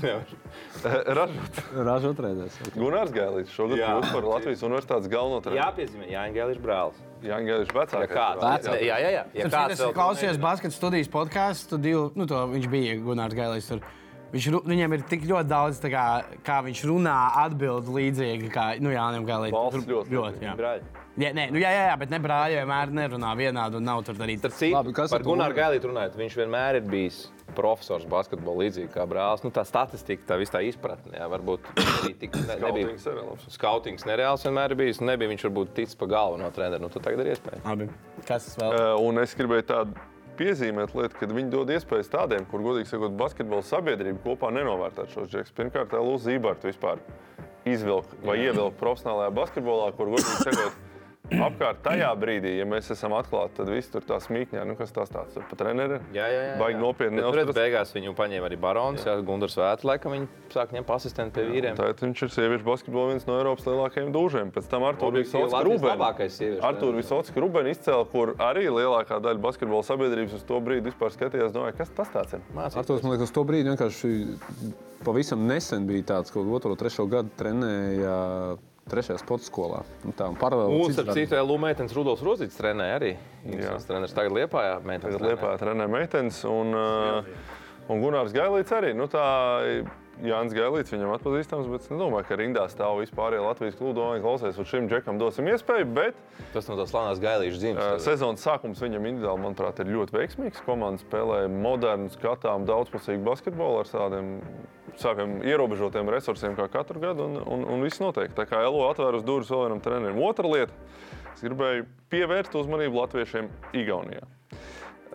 Eh, Ražot.
Ražo trenēs.
Gunārs Gēlīts šogad
Jā.
kļūst par Latvijas universitātes galveno
Jā,
treneru.
piezīmē, Jānis Gēlis brālis.
Jā, Gēlīts
Ja
vecākais.
kāds,
Vecāks.
jā, jā, jā. Ja
Kāds
kāds
es klausījos basketbola studijas podkāstu, tad nu, to viņš bija Gunārs Gailais. Tur. Viņš, ru- viņam ir tik ļoti daudz, tā kā, kā viņš runā, atbild līdzīgi, kā nu, Jānis
Balss
Gailais.
ļoti
ļoti jā.
brāļi.
Jā, nē, nu, jā, jā, jā, bet ne brāļi vienmēr nerunā vienādi un nav tur arī.
Starp citu,
Labi, kas
par
ar to
Gunāru
Gunāru?
Gailītu runājot, viņš vienmēr ir bijis profesors basketbolā, līdzīgi kā brālis. Nu, tā statistika, tā visā izpratnē, jā, varbūt arī tik ne, nebija.
Skautings arī labs.
Skautings nereāls vienmēr ir bijis. Nebija viņš varbūt ticis pa galvu no treneriem. Nu, tad tagad ir iespēja.
Labi. Kas tas vēl?
Eh, Un es gribēju tādu piezīmēt lietu, ka viņi dod iespējas tādiem, kur, godīgi sakot, basketbola sabiedrība kopā nenovērtē šos džekus. Pirmkārt, Lūija Zīberta vispār izvilkt vai ievilkt profesionālajā basketbolā, kur, godīgi sakot, apkārt tajā brīdī, ja mēs esam atklāti, tad viss tur tā smīkņā, nu kas tas tāds - pat treneri.
Jā, jā, jā.
Baigi nopietni
Bet, nu, Tur
neuzturas.
beigās viņu paņēma arī barons, jā. Jā, Gundars Vētra, laikam viņi sāk ņemt asistentu pie vīriem.
Tātad viņš ir sieviešu basketbolā viens no Eiropas lielākajiem dūžiem. Pēc tam Artur
Objektīvi
Visovska
Latvijas
Rūbēns.
labākais sieviešu
Artur Visovska Rūbēns izcēla, kur arī lielākā daļa basketbola sabiedrības uz to brīdi vispār skatījās, domāja, kas tas tāds ir.
mācīja.
Artos, man liekas, to brīdi vienkārši pavisam nesen bija tāds, ka otro, trešo gadu trenēja trešajā sporta skolā. Un tā, un paralēli
Un,
cits
starp
darbs.
citu, Lūmētens Rudolfs Rozīts trenē arī. Viņš treneris tagad liepā, jā, meitenes.
Tagad Lietuvā trenē meitenes un, uh, un Gunārs Gailīts arī. Nu, tā, Jānis Gailīts viņam atpazīstams, bet es nedomāju, ka rindā stāv vispār Latvijas klubu. Domāju, klausies, un šim džekam dosim iespēju, bet
Tas no tās slānās gailīšas
uh,
dzimšanas.
sezonas sākums viņam individuāli, manuprāt, ir ļoti veiksmīgs. Komanda spēlē modernu, skatām, daudzpusīgu basketbolu ar tādiem saviem ierobežotiem resursiem kā katru gadu, un, un, un viss notiek. Tā kā Elo atvērusi durvis vēl vienam trenerim. Otra lieta, es gribēju pievērst uzmanību latviešiem Igaunijā.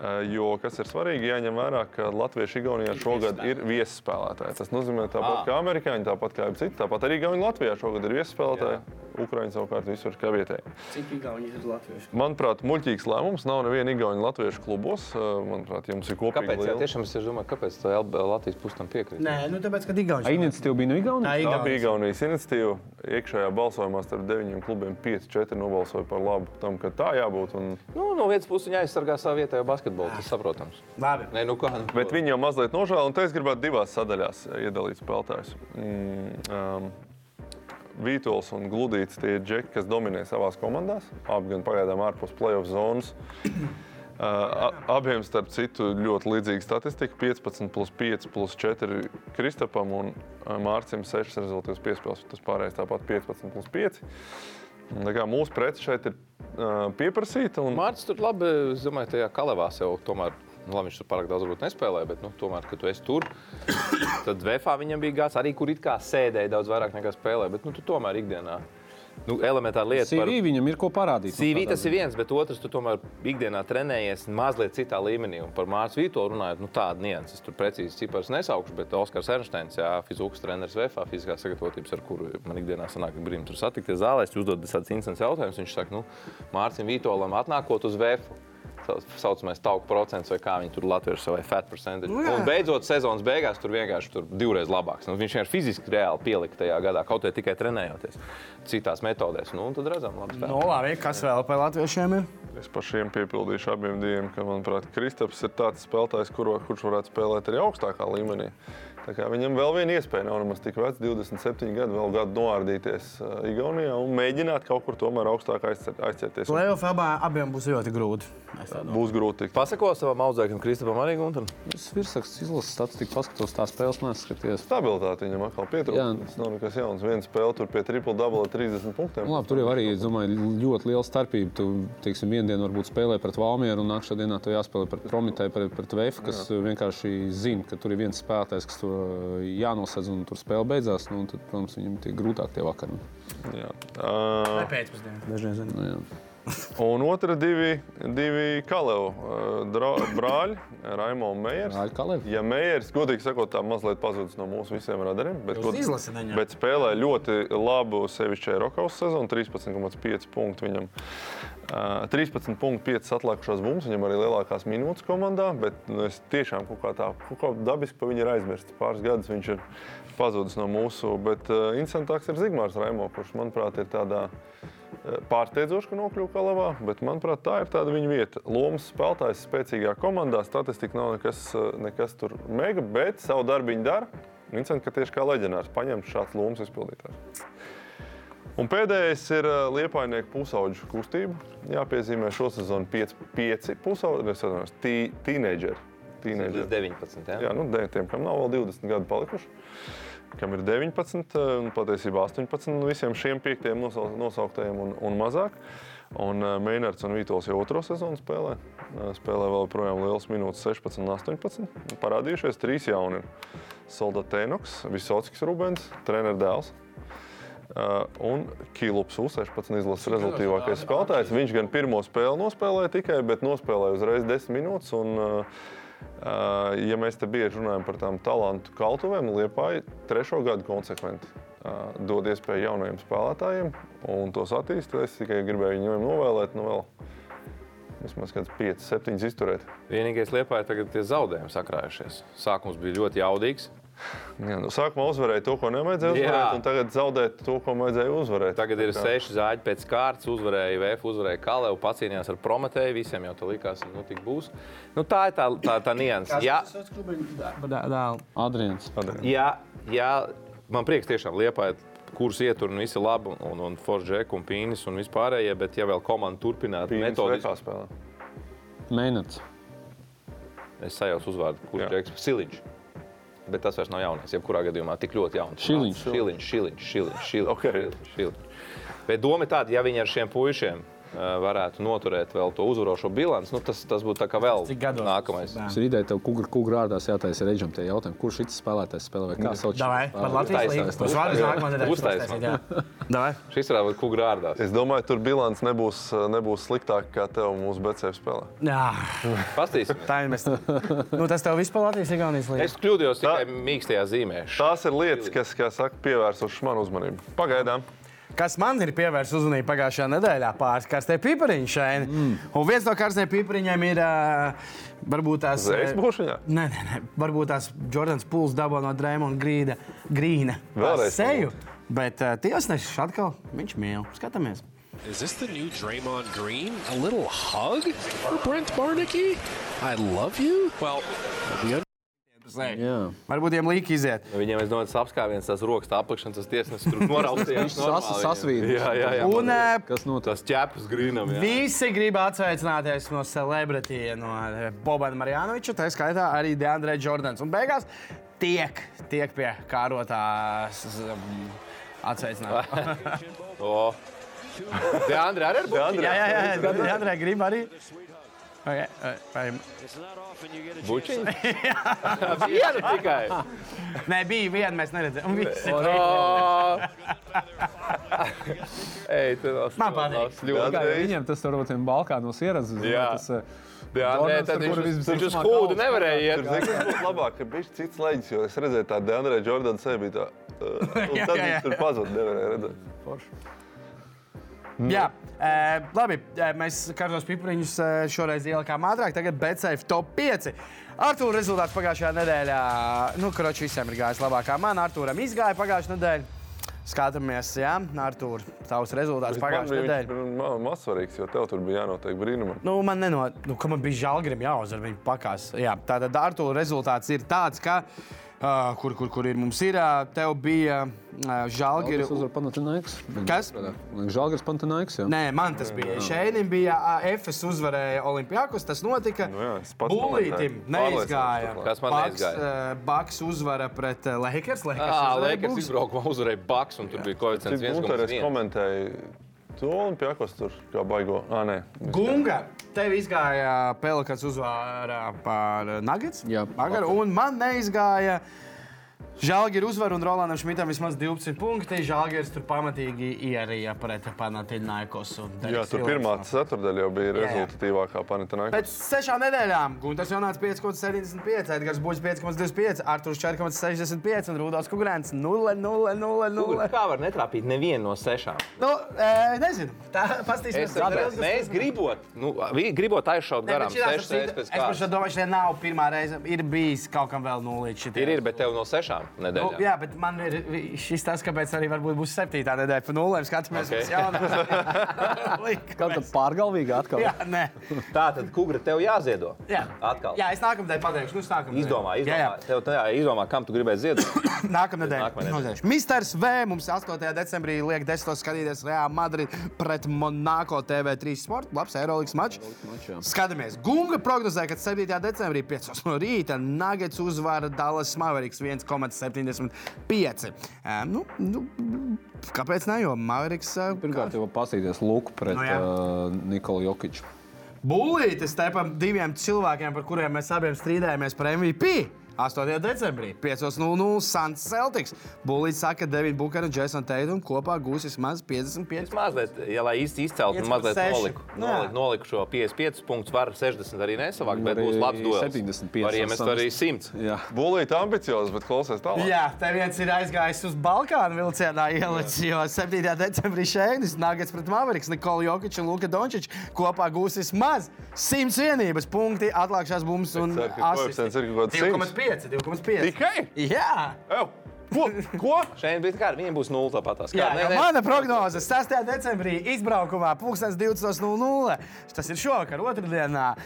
Eh, Jo, kas ir svarīgi, jāņem vērā, ka Latviešu Igaunijā šogad ir viesspēlētāji. Tas nozīmē, tāpat kā amerikāņi, tāpat kā citi, tāpat arī Igaunijā Latvijā šogad ir viesspēlētāji. Ukraiņi savukārt visur kā vietēji.
Cik īgauni ir latvieši?
Manuprāt, muļķīgs lēmums. Nav neviena Igaunija Latviešu klubos. Eh, Manuprāt, jums ir kopīgi.
Kāpēc? Jā, tiešām es domāju, kāpēc tā LB Latvijas pustam piekrīt.
Nē, nu tāpēc, ka īgauni.
Iniciatīva bija no
Tā
Igaunijas.
ir
Tā
īgauni.
bija Igaunijas iniciatīva. Iekšējā balsojumā starp deviņiem klubiem 5-4 nobalsoja par labu tam, ka tā jābūt. Un...
Nu, no vienas puses viņa aizsargā savu vietējo basketbolu, tas saprotams.
Labi.
Nē, nu kā. nu ko?
Bet viņi jau mazliet nožēlo, un te es gribētu divās sadaļās eh, iedalīt spēlētājus. Mm, um, Vītols un Gludīts tie ir džeki, kas dominē savās komandās. Abi gan pagaidām ārpus playoff zonas. (coughs) Uh, a- abiem, starp citu, ļoti līdzīga statistika. 15, plus 5, plus 4 Kristapam un uh, Mārcim 6 rezultātus piespēlēs. Tas pārējais tāpat 15, plus 5. Un Tā kā mūsu preci šeit ir uh, pieprasīta. Un...
Mārcis tur labi, es domāju, tajā kalavā jau tomēr. Nu, labi, viņš tur pārāk daudz varbūt nespēlēja, bet, nu, tomēr, kad tu esi tur, tad Vēfā viņam bija gāds arī, kur it kā sēdēja daudz vairāk nekā spēlēja. Bet, nu, tu tomēr ikdienā, nu, elementāra lieta. par-
CV viņam ir ko parādīt. Nu,
CV tas ir viens, bet otrs, tu tomēr ikdienā trenējies mazliet citā līmenī. Un par Mārcis Vito runājot, nu tāda nianses. Es tur precīzi ciparus nesaukšu, bet Oskars Ernsteins, jā, fizikas treneris VFA, fiziskās sagatavotības, ar kuru man ikdienā sanāk brīnum tur satikties zālē, es uzdodu tādas instants jautājumus. Viņš saka, nu, Mārcis Vitolam atnākot uz VFA. Tā saucamais tauku procents, vai kā viņi tur latviešu vai fat percentage. Un beidzot, sezonas beigās tur vienkārši tur divreiz labāks. Nu, viņš vienkārši fiziski reāli pielika tajā gadā, kaut arī tikai trenējoties citās metodēs. Nu, un tad redzam, labi. spēlē.
Nu, labi, kas vēl par latviešiem ir?
Es par šiem piepildīšu abiem diviem, ka, manuprāt, Kristaps ir tāds spēlētājs, kuro, kurš varētu spēlēt arī augstākā līmenī. Tā kā Viņam vēl viena iespēja nav nemaz tik vecs, 27 gadu, vēl gadu noārdīties uh, Igaunijā un mēģināt kaut kur tomēr augstāk aizcer- aizķerties.
Playoff abā, abiem būs ļoti grūti. Es tā domāju.
Būs grūti tikt.
Pasako savam audzēkam, Kristapam, arī Guntam.
Es virsrakstu izlasu statistiku, paskatos tās spēles, neskaties.
Stabilitāte viņam atkal
Jā.
pietrūkst. Tas nav nekas jauns. Viena spēle tur pie triple double ar 30 punktiem.
Nu, Labi, tur jau arī es domāju, ļoti liela starpība. Tu teiksim, vienu dienu varbūt spēlē pret Valmjeru, un nākamā dienā tev jāspēlē pret Prometēju, pret, pret Vēju, kas Jā. vienkārši zina, ka tur ir viens spēlētājs, kas to jānosedz, un tur spēle beidzās. Nu, un tad, protams, viņam tiek grūtāk tie vakar.
Jā. Uh,
Pēcpusdienā.
Nu, jā.
Un otra divi, divi Kaleva uh, brāļi, Raimons Meijers.
Brāļi Kalevi.
Ja Meijers, godīgi sakot, tā mazliet pazudis no mūsu visiem radariem, bet,
Jūs izlasi viņam.
bet spēlē ļoti labu sevišķi Rokaus sezonu, 13,5 punktu viņam. Uh, 13,5 atlikušās bumbas, viņam arī lielākās minūtes komandā, bet nu, es tiešām kaut kā tā kaut kā dabiski pa viņu ir aizmirsts. Pāris gadus viņš ir pazudis no mūsu, bet uh, interesantāks ir Zigmārs Raimons, kurš, manuprāt, ir tādā pārsteidzoši, ka nokļuva Kalavā, bet manuprāt, tā ir tāda viņa vieta. Lomas spēlētājs spēcīgā komandā, statistika nav nekas, eh, nekas tur mega, bet savu darbu viņa dara. Vincent, ka tieši kā leģendārs, paņemt šāds lomas izpildītājs. Un pēdējais ir liepainieku pusauģu kustība. Jāpiezīmē šosezon 5 pusauģi, es atvainojos, tī- tīneidžeri. Tīneidžeri.
19. jā?
Jā, nu, de- tiem, kam nav vēl 20 gadi palikuši, kam ir 19, eh, un patiesībā 18, un visiem šiem piektajiem nosau- nosauktajiem un, un mazāk. Un eh, Meinards un Vītols jau otro sezonu spēlē. Eh, Spēlē vēl projām liels minūtes 16, un 18. Un Parādījušies trīs jauni. Solda Tenoks, Visockis Rubens, treneris dēls. Uh, un Kilups U16 izlases rezultātīvākais spēlētājs. Viņš gan pirmo spēli nospēlēja tikai, bet nospēlēja uzreiz 10 minūtes. Un, uh, Uh, ja mēs te bieži runājam par tām talantu kaltuvēm, Liepāja trešo gadu konsekventi uh, dod iespēju jaunajiem spēlētājiem un tos attīstīt. Es tikai gribēju viņiem novēlēt, nu vēl vismaz kāds 5, 7 izturēt.
Vienīgais liepā ir tagad tie zaudējumi sakrājušies. Sākums bija ļoti jaudīgs.
Jā, nu, sākumā uzvarēja to, ko nemēdzēja
Jā.
uzvarēt, un tagad zaudēt to, ko mēdzēja uzvarēt.
Tagad ir
Tā kā-
seši zāģi pēc kārtas. Uzvarēja VF, uzvarēja Kalēju, pacīnījās ar Prometēju. Visiem jau tā likās, ka nu, tik būs. Nu, tā ir tā, tā, tā nianses. Jā,
Adrians.
jā, jā, man prieks tiešām liepā. Kurs ietur un viss ir labi, un, un Forsģēka un Pīnis un vispārējie, bet ja vēl komanda turpinātu
Pīns
metodiski,
veikā spēlē.
Mēnets.
es sajaucu uzvārdu, kurš
Jā.
ir Džeks Siliņš. Bet tas vairs nav jaunais, jebkurā gadījumā tik ļoti jauns.
Šiliņš.
Šiliņš, šiliņš, šiliņš. šiliņš,
Ok.
šiliņš, šiliņš. Bet doma ir tāda, ja viņi ar šiem puišiem eh, varētu noturēt vēl to uzvarošo bilanci, nu tas, tas būtu tā kā vēl
Cik gados?
nākamais.
Tas ir ideja, tev kukur, kukur ārdās jātaisa reģionam tie jautājumi, kurš šis spēlētājs spēlē vai kā sauc.
Davai, par Latvijas
Uztaisam.
līniju. Tas vārds
Uztaisam.
nākamā
Uztaisam.
nedēļa. Davai.
Šis ir vēl kukurārdās.
Es domāju, tur bilants nebūs, eh, nebūs sliktāk kā tev mūsu BCF spēlē.
Jā,
Pastīsim.
tā ir mēs. Nu, tas tev vispār Latvijas Igaunijas līnijas.
Es kļūdījos
Tā-
tikai mīkstajā zīmē.
Tās ir lietas, kas, kā saka, pievērsušas manu uzmanību. Pagaidām.
Kas man ir pievērsts uzmanību pagājušajā nedēļā, pāris karstie pipariņi šeit. Mm. Un viens no karstajiem pipariņiem ir ā, varbūt tās.
Zēks
ā,
būšanā?
Nē, nē, nē, varbūt tās Jordans Pūls dabū no Dreamona Grīna. Grīna.
Vēlreiz
seju. Bet uh, tiesnesis atkal viņš mīl. Skatāmies.
Is this the new Draymond Green? A little hug for Brent Barnicky? I love you? Well,
Jā.
Varbūt viņam līk iziet.
Viņiem, es domāju, tas apskāviens, tas rokas tā apakšanas, tas tiesnesis tur noraustījās.
sas-
normāli.
sasvīdis.
Jā, jā, jā.
Un uh,
Kas notiek?
Tas ķēpes grīnam. jā.
Visi grib atsveicināties no celebritīja, no eh, Bobana Marjanoviča, tā skaitā arī Deandre Jordans. Un beigās tiek, tiek pie kārotās mm, atsveicināt.
O. Te Andri Oh. arī ir buļķis.
jā, jā, jā, jā Deandre grib arī. Okay, eh, vai-
(laughs)
Buļķis. Vienu (laughs) tikai.
Nē, bija viena, mēs neredzējām. Visi
O.
bija.
Ej, tu tas
Man patīk.
Kā,
ļoti.
ja viņiem tas varbūt ir Balkānos ierasts.
Jā.
Tas, eh,
Jā, nē,
Donalds,
tad
ar kuru
viņš,
viss
viņš uz
pirmā
kūdu
galva
nevarēja
Tur
iet.
zini, kas būtu labāk, ka bija cits leģis, jo es redzēju, tā Deandra Jordana sevi
(laughs)
bija tā. Uh, un
Jā, jā,
tad
jā.
viņš tur pazuda, nevarēja redzēt.
Jā, eh, labi. eh, Mēs kārtos pipariņus eh, šoreiz ielikām ātrāk. Tagad BCF top 5. Artūra rezultāts pagājušajā nedēļā. Nu, kroči visiem ir gājis labākā. Man Artūram izgāja pagājušā nedēļa. Skatāmies, jā, Artūr, tavs rezultāts
Bet man
pagājušajā
bija viņš
nedēļā.
bija ma- mazsvarīgs, jo tev tur bija jānotiek brīnumam.
Nu, man neno, nu, ka man bija žēl, grib jāuzvar viņa pakās. Jā, tātad Artūra rezultāts ir tāds, ka Uh, kur, kur, kur ir mums ir? Uh, tev bija uh, žēlgiri.
Žalgiris uzvar Panatinaiks.
Kas?
Žalgiris Panatinaiks, jā.
Nē, man tas bija. Šeinim bija Efes uzvarēja Olimpijākos. Tas notika.
Nu jā, es pats
Bulītim
nometēju.
neizgāja.
Kas man
Baks,
neizgāja?
eh, Baks uzvara pret eh, Lakers. Lakers
Ah,
uzvarēja
Lakers
Bucks.
izbraukumā uzvarēja Baks, un tur bija koeficients
Cik gudri es
1,1.
komentēju, tu Olimpijākos tur kā baigo. Ah, nē.
Gunga, tev izgāja Pelikans uzvārā par Nuggets.
Jā.
vakar, un man neizgāja. Žēlgārs uzvar un Rolandam Šmitam vismaz 12 punkti. Žēlgārs tur pamatīgi ierija pret Panatīnaikos.
Jā, tur pirmā ceturdaļa jau bija
jā.
rezultatīvākā panitināka.
Pēc sešām nedēļām Gunārs Jonas 5,75, Edgars Buļs 5,25, Arthurs 4,65 un Rudolfs Kungrēns 0,000.
Kā var netrāpīt nevienu no sešām?
Nu, e, nezinu, tā
Es
pastīsimies.
saprotu, mēs gribot, nu, vi- gribot aizšaut
Nē,
garām
bet šī tās
sešas
ir-
reizes pēc
Es par šo
kārtas.
domāju, šī nav pirmā reize. Ir bijis kaut kam vēl nulīts.
Ir, ir, bet tev no sešām
Nu,
nedēļām.
jā, bet man ir vi- šis tas, kāpēc arī varbūt būs septītā nedēļa pa nulēm. Skatāmies,
Ok.
kas
(laughs)
jaunā.
Kāda pārgalvīga atkal?
Jā, nē.
Tā tad, kungra, tev jāziedo.
Jā.
Atkal.
Jā, es nākamnedēļ pateikšu. Nu, es nākamnedēļ.
Izdomā, izdomā,
Jā, jā.
Tev, tā, jā, izdomā, kam tu gribēji ziedot.
(laughs) Nākamnedēļ.
Nākamā nedēļa.
Noteikti. Misters V mums 8. decembrī liek 10. skatīties Real Madrid pret Monako TV3 sporta. Labs Eirolandes mačs. Skatāmies. Gunga prognozē, ka 7. decembrī 5. no rīta Nuggets uzvara Dallas Mavericks 1,75. Ē, Nu, nu, kāpēc ne? Jo Mavericks ē,
Pirmkārt, jau pasīties Luku pret
Nu,
no,
jā.
uh, Nikolu Jokiču.
Bulītis tepam diviem cilvēkiem, par kuriem mēs abiem strīdējāmies par MVP. 8. decembrī 5.00 Suns Celtics. Bulītis saka, ka Davids Bukers un Jasons Teitons kopā gūs vismaz 55.
Mazliet, ja lai īsti izceltu,
5,6.
mazliet noliku,
Nu, jā.
noliku, noliku šo 55 punktu, varu 60 arī nesavākt, bet
Arī
būs labs duels.
75
Var iemest
samest.
arī 100.
Jā,
Bulīti ambiciozi, bet klausies tālāk.
Jā, te viens ir aizgājis uz Balkānu vilcienā ielicis, jo 7. decembrī šeinis Nāgats pret Maveriks, Nikola Jokic un Luka Dončič kopā gūs vismaz 100 vienības punkti, atlākšās bumbas un
Ceru, ka koeficients ir kaut kāds
2,5. 2,5.
Tikai?
Jā!
Ew, Ko? Ko?
Šeit bija kā, viņiem būs 0 tāpatās.
Jā, jā, mana prognoze 6. decembrī izbraukumā 20.00. Tas ir šovakar, otrdienā.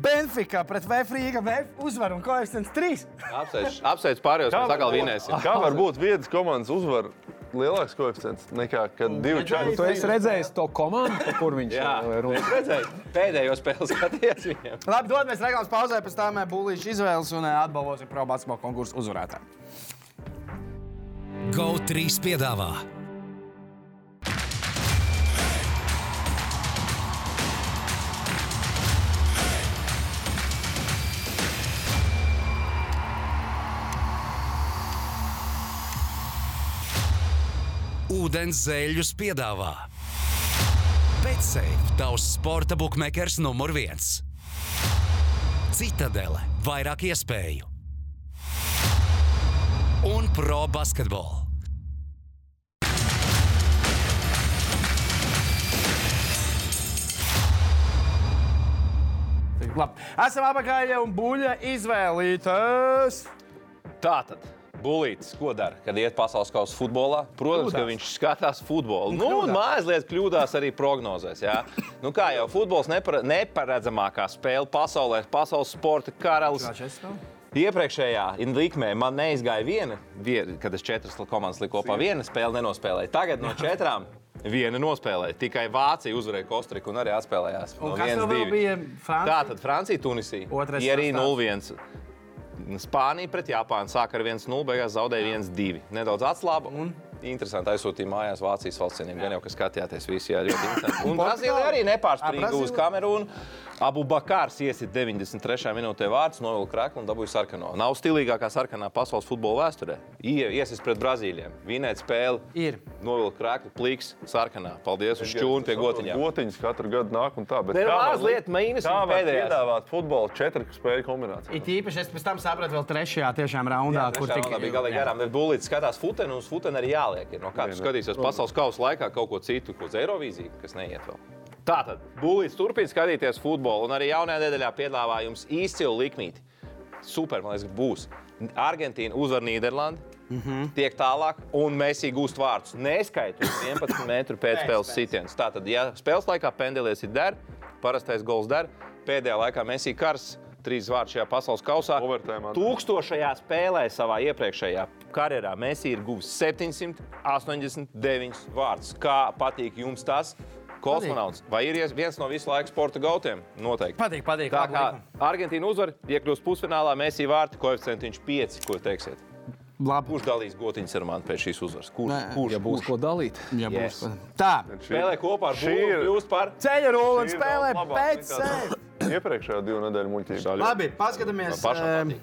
Benfica pret Vēfrīga uzvaru un koeficients 3.
Apsveic, apsveic pārējos, mēs atkal vinēsim.
Kā var būt vietas komandas uzvar lielāks koeficients nekā kad divi četri?
tu esi redzējis to komandu, par kur viņš
Jā,
eh, runā.
es redzēju, pēdējo spēli skaties viņiem.
Labi, dodamies reklāmas pauzē, pēc tam eh, būlīšu izvēles un ē, atbalvosim pro basketbola konkursu uzvarētāju.
GO3 piedāvā Ūdens zēļus piedāvā Betsafe, tavs sporta bukmekārs numur viens. Citadele, vairāk iespēju un pro basketbolu.
Labi, esam apakaļ un buļļa izvēlītas.
Tā tad. Bulītis, ko dara, kad iet pasaules kausa futbolā? Protams, kļūdās. ka viņš skatās futbolu. Nu, un mazliet kļūdās arī prognozēs. jā. Nu, kā jau futbols nepare, neparedzamākā spēle pasaulē, pasaules sporta karalis. Iepriekšējā likmē man neizgāja viena, vie- kad es četras komandas liku kopā. Viena spēle nenospēlēja. Tagad no četrām viena nospēlēja. Tikai Vācija uzvarēja Kostriku un arī atspēlējās.
Un
no
kas tev
1-2.
vēl bija Francija?
Tā tad Francija, Tunisija.
Otrais
Ja arī
sastāvs.
0-1. Spānija pret Japānu sāk ar 1-0, beigās zaudēja 1-2. Nedaudz atslāba. Un... Interesanti, aizsūtīja mājās Vācijas valsts cieniem. Gan jau, ka skatījāties visi, jā, ļoti interesanti.
(laughs)
Un Brazīlija arī nepārspīlēja uz
Brazīlija?
Kamerūnu. Abu Bakārs iesit 93. minūtē vārds, novilka krāklu un dabūja sarkano. Nav stilīgākā sarkanā pasaules futbola vēsturē. Ie, iesis pret Brazīlijiem, vinēt spēli.
Ir.
Novilka krāklu, plīks, sarkanā. Paldies uz čūnu pie gotiņām.
Gotiņas katru gadu nāk un tā. bet
Ne,
kā var
mazliet
likt-
mīnus
Kā
un
var
pēdējās.
piedāvāt futbolu četru spēļu kombināciju?
It īpaši es pēc tam sapratu vēl trešajā tiešām raundā, kur
Trešā
tika
raundā bija galīgi garām. Bet Bulīts skatās futeni, un uz futeni arī jāliek. Ir. No kāds skatīsies pasaules kausa laikā kaut ko citu, ko uz Eirovīziju, kas neiet vēl. Tātad Bulīts turpina skatīties futbolu, un arī jaunajā nedēļā piedāvā jums izcilu likmīti. Super, man liekas, būs. Argentīna uzvar Nīderlandi. Mm -hmm. Tiek tālāk, un mēs iegūstam vārdus. Neskaitot 11 metru pēc spēles sitienas. Tātad, ja spēles laikā pendelēs ir der, parastais gols der, pēdējā laikā mēs īkars trīs vārdus šajā pasaules kausā.
Overtime atdeva.
Tūkstošajā spēlē savā iepriekšējā karjerā Mēsī ir guvis 789 vārdus. Kā patīk jums tas? Kosmonauts vai ir ies- viens no visu laiku sporta gautiem? Noteikti.
Patīk, patīk,
Tā
labi
kā
likumi.
Argentīna uzvar, iekļūst pusfinālā, Mēsī vārti, koeficients 5, ko teiksiet?
Labi.
Kurš dalīs gotiņas ar mani pēc šīs uzvaras? Kurš?
Nē.
kurš?
Ja būs ko dalīt,
Jā,
Yes.
būs. Tā.
Spēlē kopā ar
Šī
Šīnu,
ir-
kļūst par
Ceļa
Šī
rullis
ir
spēlē
vēl labāk
pēc
nekā tā.
sevis.
Iepriekšējā divu nedēļu muļķība.
Labi, paskatāmies.
pašam
ehm,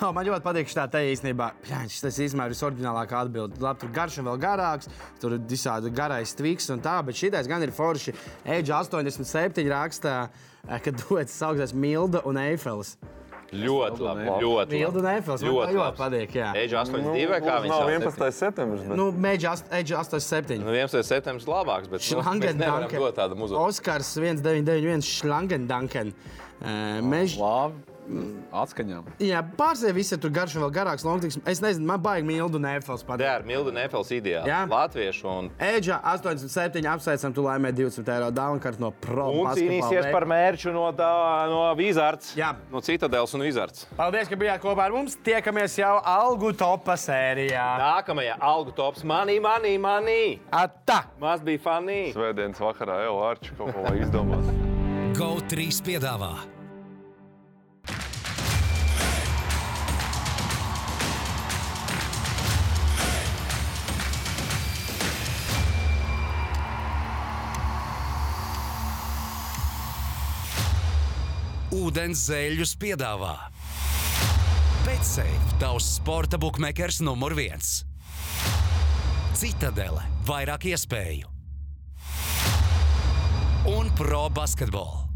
o, (laughs) Man ļoti patīk šī tā īstenībā. Pļāņš, tas īstenībā ir visoriģinālākā atbilde. Labi, tur garš un vēl garāks, tur ir visādi garais tviks un tā, bet šitais gan ir forši. Eidža 87 rakstā, eh, ka duets saucās Milda un Eifels.
ļoti labi. Ļoti
Milda un Eifels. Man tā ļoti
labi.
patīk, Nu, jā.
Eģis 82, vai kā viņš
Nu, Nav
sauc?
11. septembris, bet nu,
Nu, Eidža 87.
Nu, 11. septembris labāks, bet nu, mēs nevaram
Šlangendanken.
dot tādam uzvaru.
Oskars 1991 Šlangendanken. Eh, Mež...
labi atskaņām.
Jā, pārsteigts, viss ir tur garš un vēl garāks. Longtiks. Es nezinu, man baigi mīlu un efels
Tā
patīk.
ir Milda Nefels ideja.
Jā.
Latviešu un,
Eģa 87, apsveicam, tu laimē 200 eiro dāvanu no pro.
un
basketbola
cīnīsies
veidu.
par mērķu no, tā- no Vizards.
Jā.
No Citadels un Vizards.
Paldies, ka bijāt kopā ar mums. Tiekamies jau algu topā sērijā.
Nākamajā algu tops manī, manī, manī.
Atā!
Maz bija fanī.
svētdienas vakarā jau Arčs kaut ko lai izdomās.
GO3 piedāvā Ūdens zēļus piedāvā Betsafe tavs sporta bukmekers numur viens. Citadele vairāk iespēju un pro basketbolu.